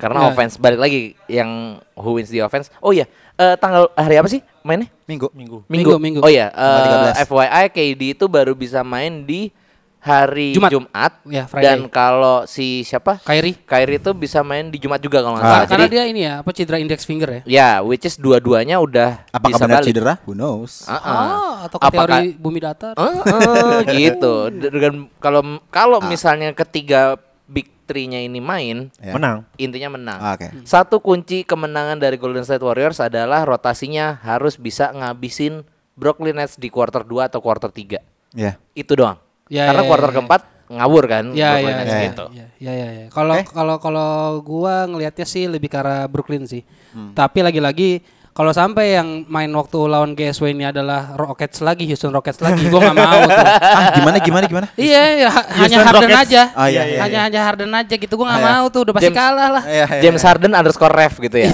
karena Ya. offense balik lagi yang who wins the offense oh iya eh, tanggal hari apa sih mainnya Minggu. Minggu. Minggu, Minggu. minggu. Oh iya, Tanggal eh, FYI KD itu baru bisa main di hari Jumat. Jumat, Ya, Friday. dan kalau si siapa? Kyrie. Kyrie itu bisa main di Jumat juga kalau nggak Ah. salah. Karena Jadi, dia ini ya, apa cedera index finger ya? ya, which is dua-duanya udah Apakah bisa benar balik. cedera? Who knows. Ah, ah. Ah, atau ke Apakah- teori bumi datar. Eh, eh, gitu. Dengan kalau kalau Ah. misalnya ketiga big three-nya ini main, Ya. Menang. intinya menang. Ah, Oke. Hmm. Satu kunci kemenangan dari Golden State Warriors adalah rotasinya harus bisa ngabisin Brooklyn Nets di quarter 2 atau quarter 3. Ya. itu doang. Ya, Karena ya, quarter ya. keempat ngawur kan Ya, ya, Brooklyn Nets ya, gitu. ya, ya, ya, ya. Kalau Eh? kalau kalau gua ngelihatnya sih lebih ke arah Brooklyn sih. Hmm. Tapi lagi-lagi kalau sampai yang main waktu lawan GSW ini adalah Rockets lagi, Houston Rockets lagi, gua nggak mau tuh. Ah, gimana gimana gimana? Iya, ya, ha- hanya Houston Harden Rockets. aja. Ah, iya, iya, hanya hanya Harden aja gitu. Gua nggak Ah, iya. mau tuh, udah pasti James- kalah lah. Iya, iya, James Harden underscore ref gitu ya.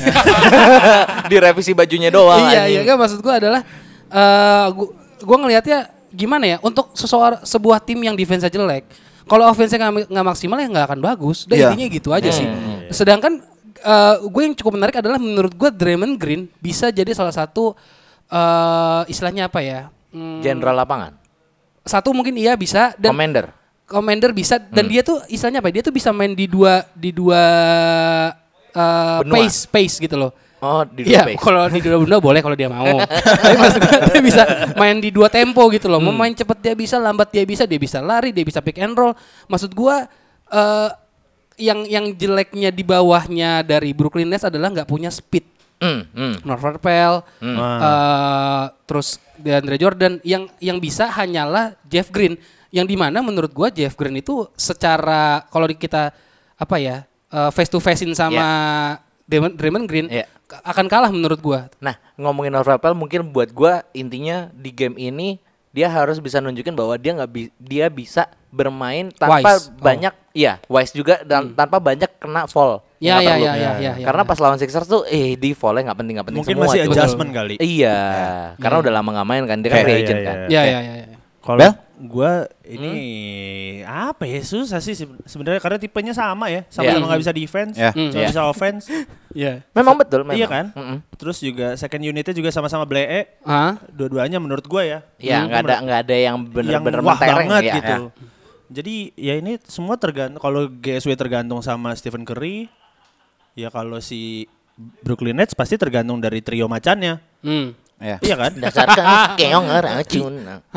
Direvisi bajunya doang. iya, iya, anjing. kan maksud gua adalah eh gua, gua ngelihatnya gimana ya untuk sesuar, sebuah tim yang defense jelek, kalau offense nggak ma- nggak maksimal ya nggak akan bagus. Dan Iya. intinya gitu aja sih. Hmm, iya, Sedangkan eh gue yang cukup menarik adalah menurut gua Draymond Green bisa jadi salah satu eh istilahnya apa ya? Hmm, Jenderal lapangan. satu mungkin iya bisa dan Commander. Commander bisa dan Hmm. dia tuh istilahnya apa? ya, Dia tuh bisa main di dua di dua eh, Benua. pace pace gitu loh. Oh, di Iya, Dubai. kalau di dua benda boleh kalau dia mau. Tapi maksud gue, dia bisa main di dua tempo gitu loh. Mau main cepet dia bisa, lambat dia bisa, dia bisa lari, dia bisa pick and roll. Maksud gua eh, yang yang jeleknya di bawahnya dari Brooklyn Nets adalah nggak punya speed. Hmm, hmm. Norman Pell, eh, terus DeAndre Jordan yang yang bisa hanyalah Jeff Green yang dimana menurut gua Jeff Green itu secara kalau di- kita apa ya eh, face to facein sama Damon- Draymond Green Iya. ka- akan kalah menurut gua. Nah, ngomongin Norval mungkin buat gua intinya di game ini dia harus bisa nunjukin bahwa dia nggak bi- dia bisa bermain tanpa Wise. Oh. banyak iya wise juga dan tanpa banyak kena fall. Ya, Nggak ya, perlu. ya, ya, ya, ya, Karena ya. pas lawan Sixers tuh eh di fallnya nggak penting nggak penting Mungkin semua. masih tuh. adjustment kali. Iya, karena Hmm. udah lama nggak main kan, dia kan Iya, free iya, agent iya. kan. Ya ya ya. ya. Bel? Kalau gua ini apa ya susah sih seben- sebenarnya karena tipenya sama ya, Iya. sama-sama nggak bisa defense, Iya. sama Iya. bisa offense. Memang betul, memang. Iya kan? Mm-mm. Terus juga second unitnya juga sama-sama blee. Ah, Dua-duanya menurut gua ya. Iya, Hmm, nggak ada menurut- nggak ada yang bener-bener yang wah mentereng banget ya, gitu. ya. Jadi ya ini semua tergantung kalau GSW tergantung sama Stephen Curry, ya kalau si Brooklyn Nets pasti tergantung dari trio macannya. hmm. Ya. Iya kan? Dasarkan keong racun.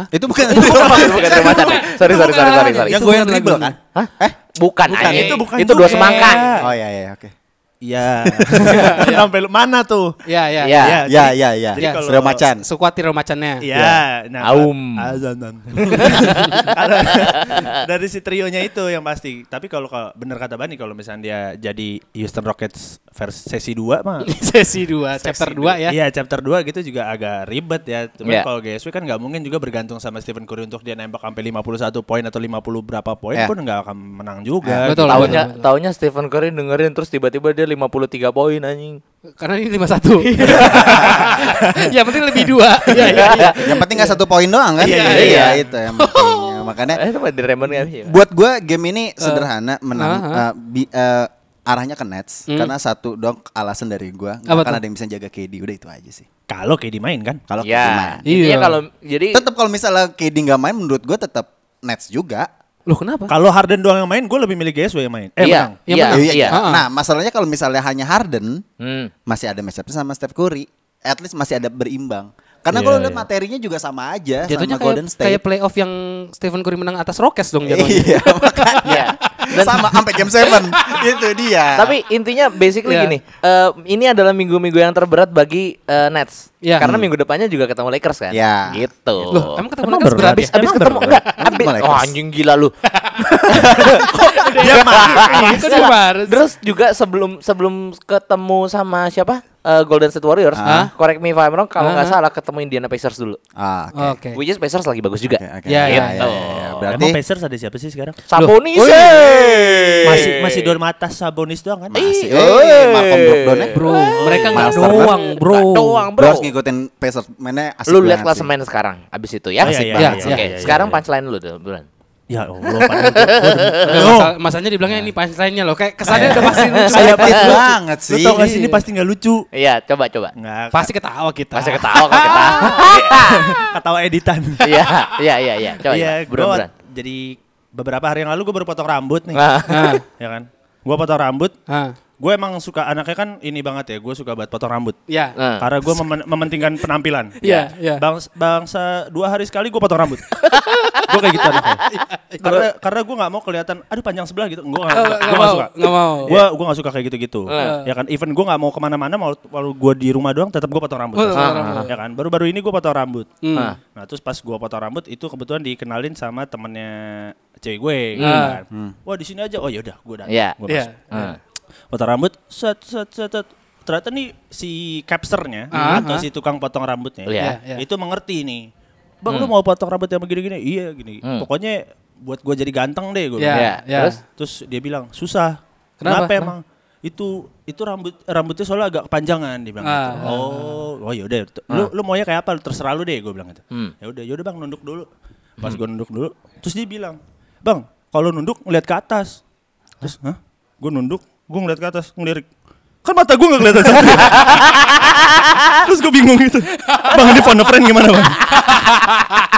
Itu bukan Bukan bukan terima kasih. Sorry sorry sorry sorry sorry. yang Itu gue yang bukan dribble lagunya. kan? Hah? Eh? Bukan, Bukan, anjing. itu bukan Nah, dua juga. semangka. Oh ya ya oke. Iya. Sampai lu- mana tuh? Ya Iya. ya. Iya, Ya jadi- ya ya. jadi kalau- Sudah macan. Sekuat tiro macannya. Iya, nah, Aum. azan, azan. Karena dari si trionya itu yang pasti. Tapi kalau kalau bener kata Bani kalau misalnya dia jadi Houston Rockets versi sesi 2 mah Sesi 2, chapter 2 ya. Iya chapter 2 gitu juga agak ribet ya. Cuman Iya. kalau GSW kan nggak mungkin juga bergantung sama Stephen Curry untuk dia nembak sampai 51 poin atau 50 berapa poin Iya. pun nggak akan menang juga. Betul, betul, Taunya betul. taunya Stephen Curry dengerin terus tiba-tiba dia 53 poin anjing. Karena ini 51. Yang penting lebih dua. Iya, iya, iya. Yang penting nggak satu poin doang kan? Iya, iya, iya. itu yang pentingnya. Makanya Eh, itu mah di Raymond kan. Iya. buat gue game ini Eh, sederhana menang aha. eh, bi- eh, arahnya ke Nets karena satu dong alasan dari Hmm. gue Apa tuh? karena ada yang bisa jaga KD udah itu aja sih. Kalau kayak dimain kan. Kalau Ya. KD main. Iya Iya. kalau jadi Tetap kalau misalnya KD nggak main menurut gue tetap Nets juga. Loh kenapa? Kalau Harden doang yang main, gue lebih milih GSW yang main. Eh, iya, menang. Yang iya, menang. iya. Ah, ah. Nah masalahnya kalau misalnya hanya Harden Hmm. masih ada matchup sama Steph Curry, at least masih ada berimbang. Karena Iya, kalau lihat iya. materinya juga sama aja Jatuhnya sama kayak, Golden State. kayak playoff yang Stephen Curry menang atas Rockets dong jatuhnya. Iya, makanya. Iya. sama sampai game 7 itu dia Tapi intinya basically Iya. gini, eh, ini adalah minggu-minggu yang terberat bagi eh, Nets. Iya. Karena Hmm. minggu depannya juga ketemu Lakers kan. Iya. Gitu. Loh, emang ketemu Emang Lakers berat berat abis ya? abis Emang ketemu berat? enggak? Emang Abis, ketemu Lakers. oh, anjing gila lu. Dia marah. Itu dia marah. Terus juga sebelum sebelum ketemu sama siapa? Eh, Golden State Warriors. Ah. Correct me if I'm wrong, kalau nggak Ah. salah ketemu Indiana Pacers dulu. ah, oke Oke. Which is Pacers lagi bagus juga. Oke, oke. Oh, Ya, ya, ya, ya, ya. Emang berarti Pacers ada siapa sih sekarang? Sabonis. Loh, eh. Masih masih Dormatas Sabonis doang kan? Ih, masih eh eh. Malcolm Brogdon ya. Bro, mereka nggak Master. doang, bro. Nggak doang, Bro, bro. harus ngikutin Pacers mainnya asik Lu lihat banget sih. klasemen sekarang abis itu ya. Oh, iya, Asik iya, banget. iya, Oke, iya, iya, sekarang iya. punchline lu dong, bulan. Ya Allah, padahal gua- gua demen- Nah, Loh, masa- masanya dibilangnya ini punchline-nya loh. Kayak kesannya udah pasti lucu. Saya pelit banget Lu sih. tau gak sih ini pasti nggak lucu. Iya, coba coba. Nggak. Pasti ketawa kita. Masih ketawa kan kita. ketawa editan. Iya, iya, iya, iya. Coba. Iya, Iya, gue bulan-bulan. jadi beberapa hari yang lalu gue baru potong rambut nih. Nah. Nah, Ya kan? Gue potong rambut. ah, Gue emang suka anaknya kan ini banget ya. Gue suka buat potong rambut. ya. Nah. Karena gue mementingkan penampilan. Iya, iya. Bangs- bangsa dua hari sekali gue potong rambut. gue kayak gitu Iya, anaknya. karena karena gue nggak mau kelihatan, aduh panjang sebelah gitu. Gue nggak Nggak gua nggak mau, suka. nggak mau. Ah. Gue gue nggak suka kayak gitu-gitu. Ya kan, even gue nggak mau kemana-mana, mau kalau gue di rumah doang, tetap gue potong rambut. Oh, potong rambut. Ya kan, baru-baru ini gue potong rambut. Hmm. Nah, Nah terus pas gue potong rambut itu kebetulan dikenalin sama temennya cewek gue. gitu Hmm. kan. Wah di sini aja. Oh yaudah, gue datang. Iya. Gua Iya. masuk potong rambut set set set, set. ternyata nih si capsernya Ah, ah. atau si tukang potong rambutnya Iya. Iya, Hmm. iya. itu mengerti nih bang lu mau potong rambut yang begini-gini iya gini Hmm. pokoknya buat gue jadi ganteng deh gue Iya, Iya, iya. terus? terus dia bilang susah Kenapa? kenapa, emang itu itu rambut rambutnya soalnya agak kepanjangan dia bilang Ah, gitu. ah, oh oh yaudah T- lu lu maunya kayak apa terserah lu deh gue bilang gitu Hmm. ya udah yaudah bang nunduk dulu pas gue nunduk dulu terus dia bilang bang kalau nunduk ngeliat ke atas terus hah gue nunduk gue ngeliat ke atas ngelirik kan mata gue nggak kelihatan satu. terus gue bingung gitu bang ini phone a friend gimana bang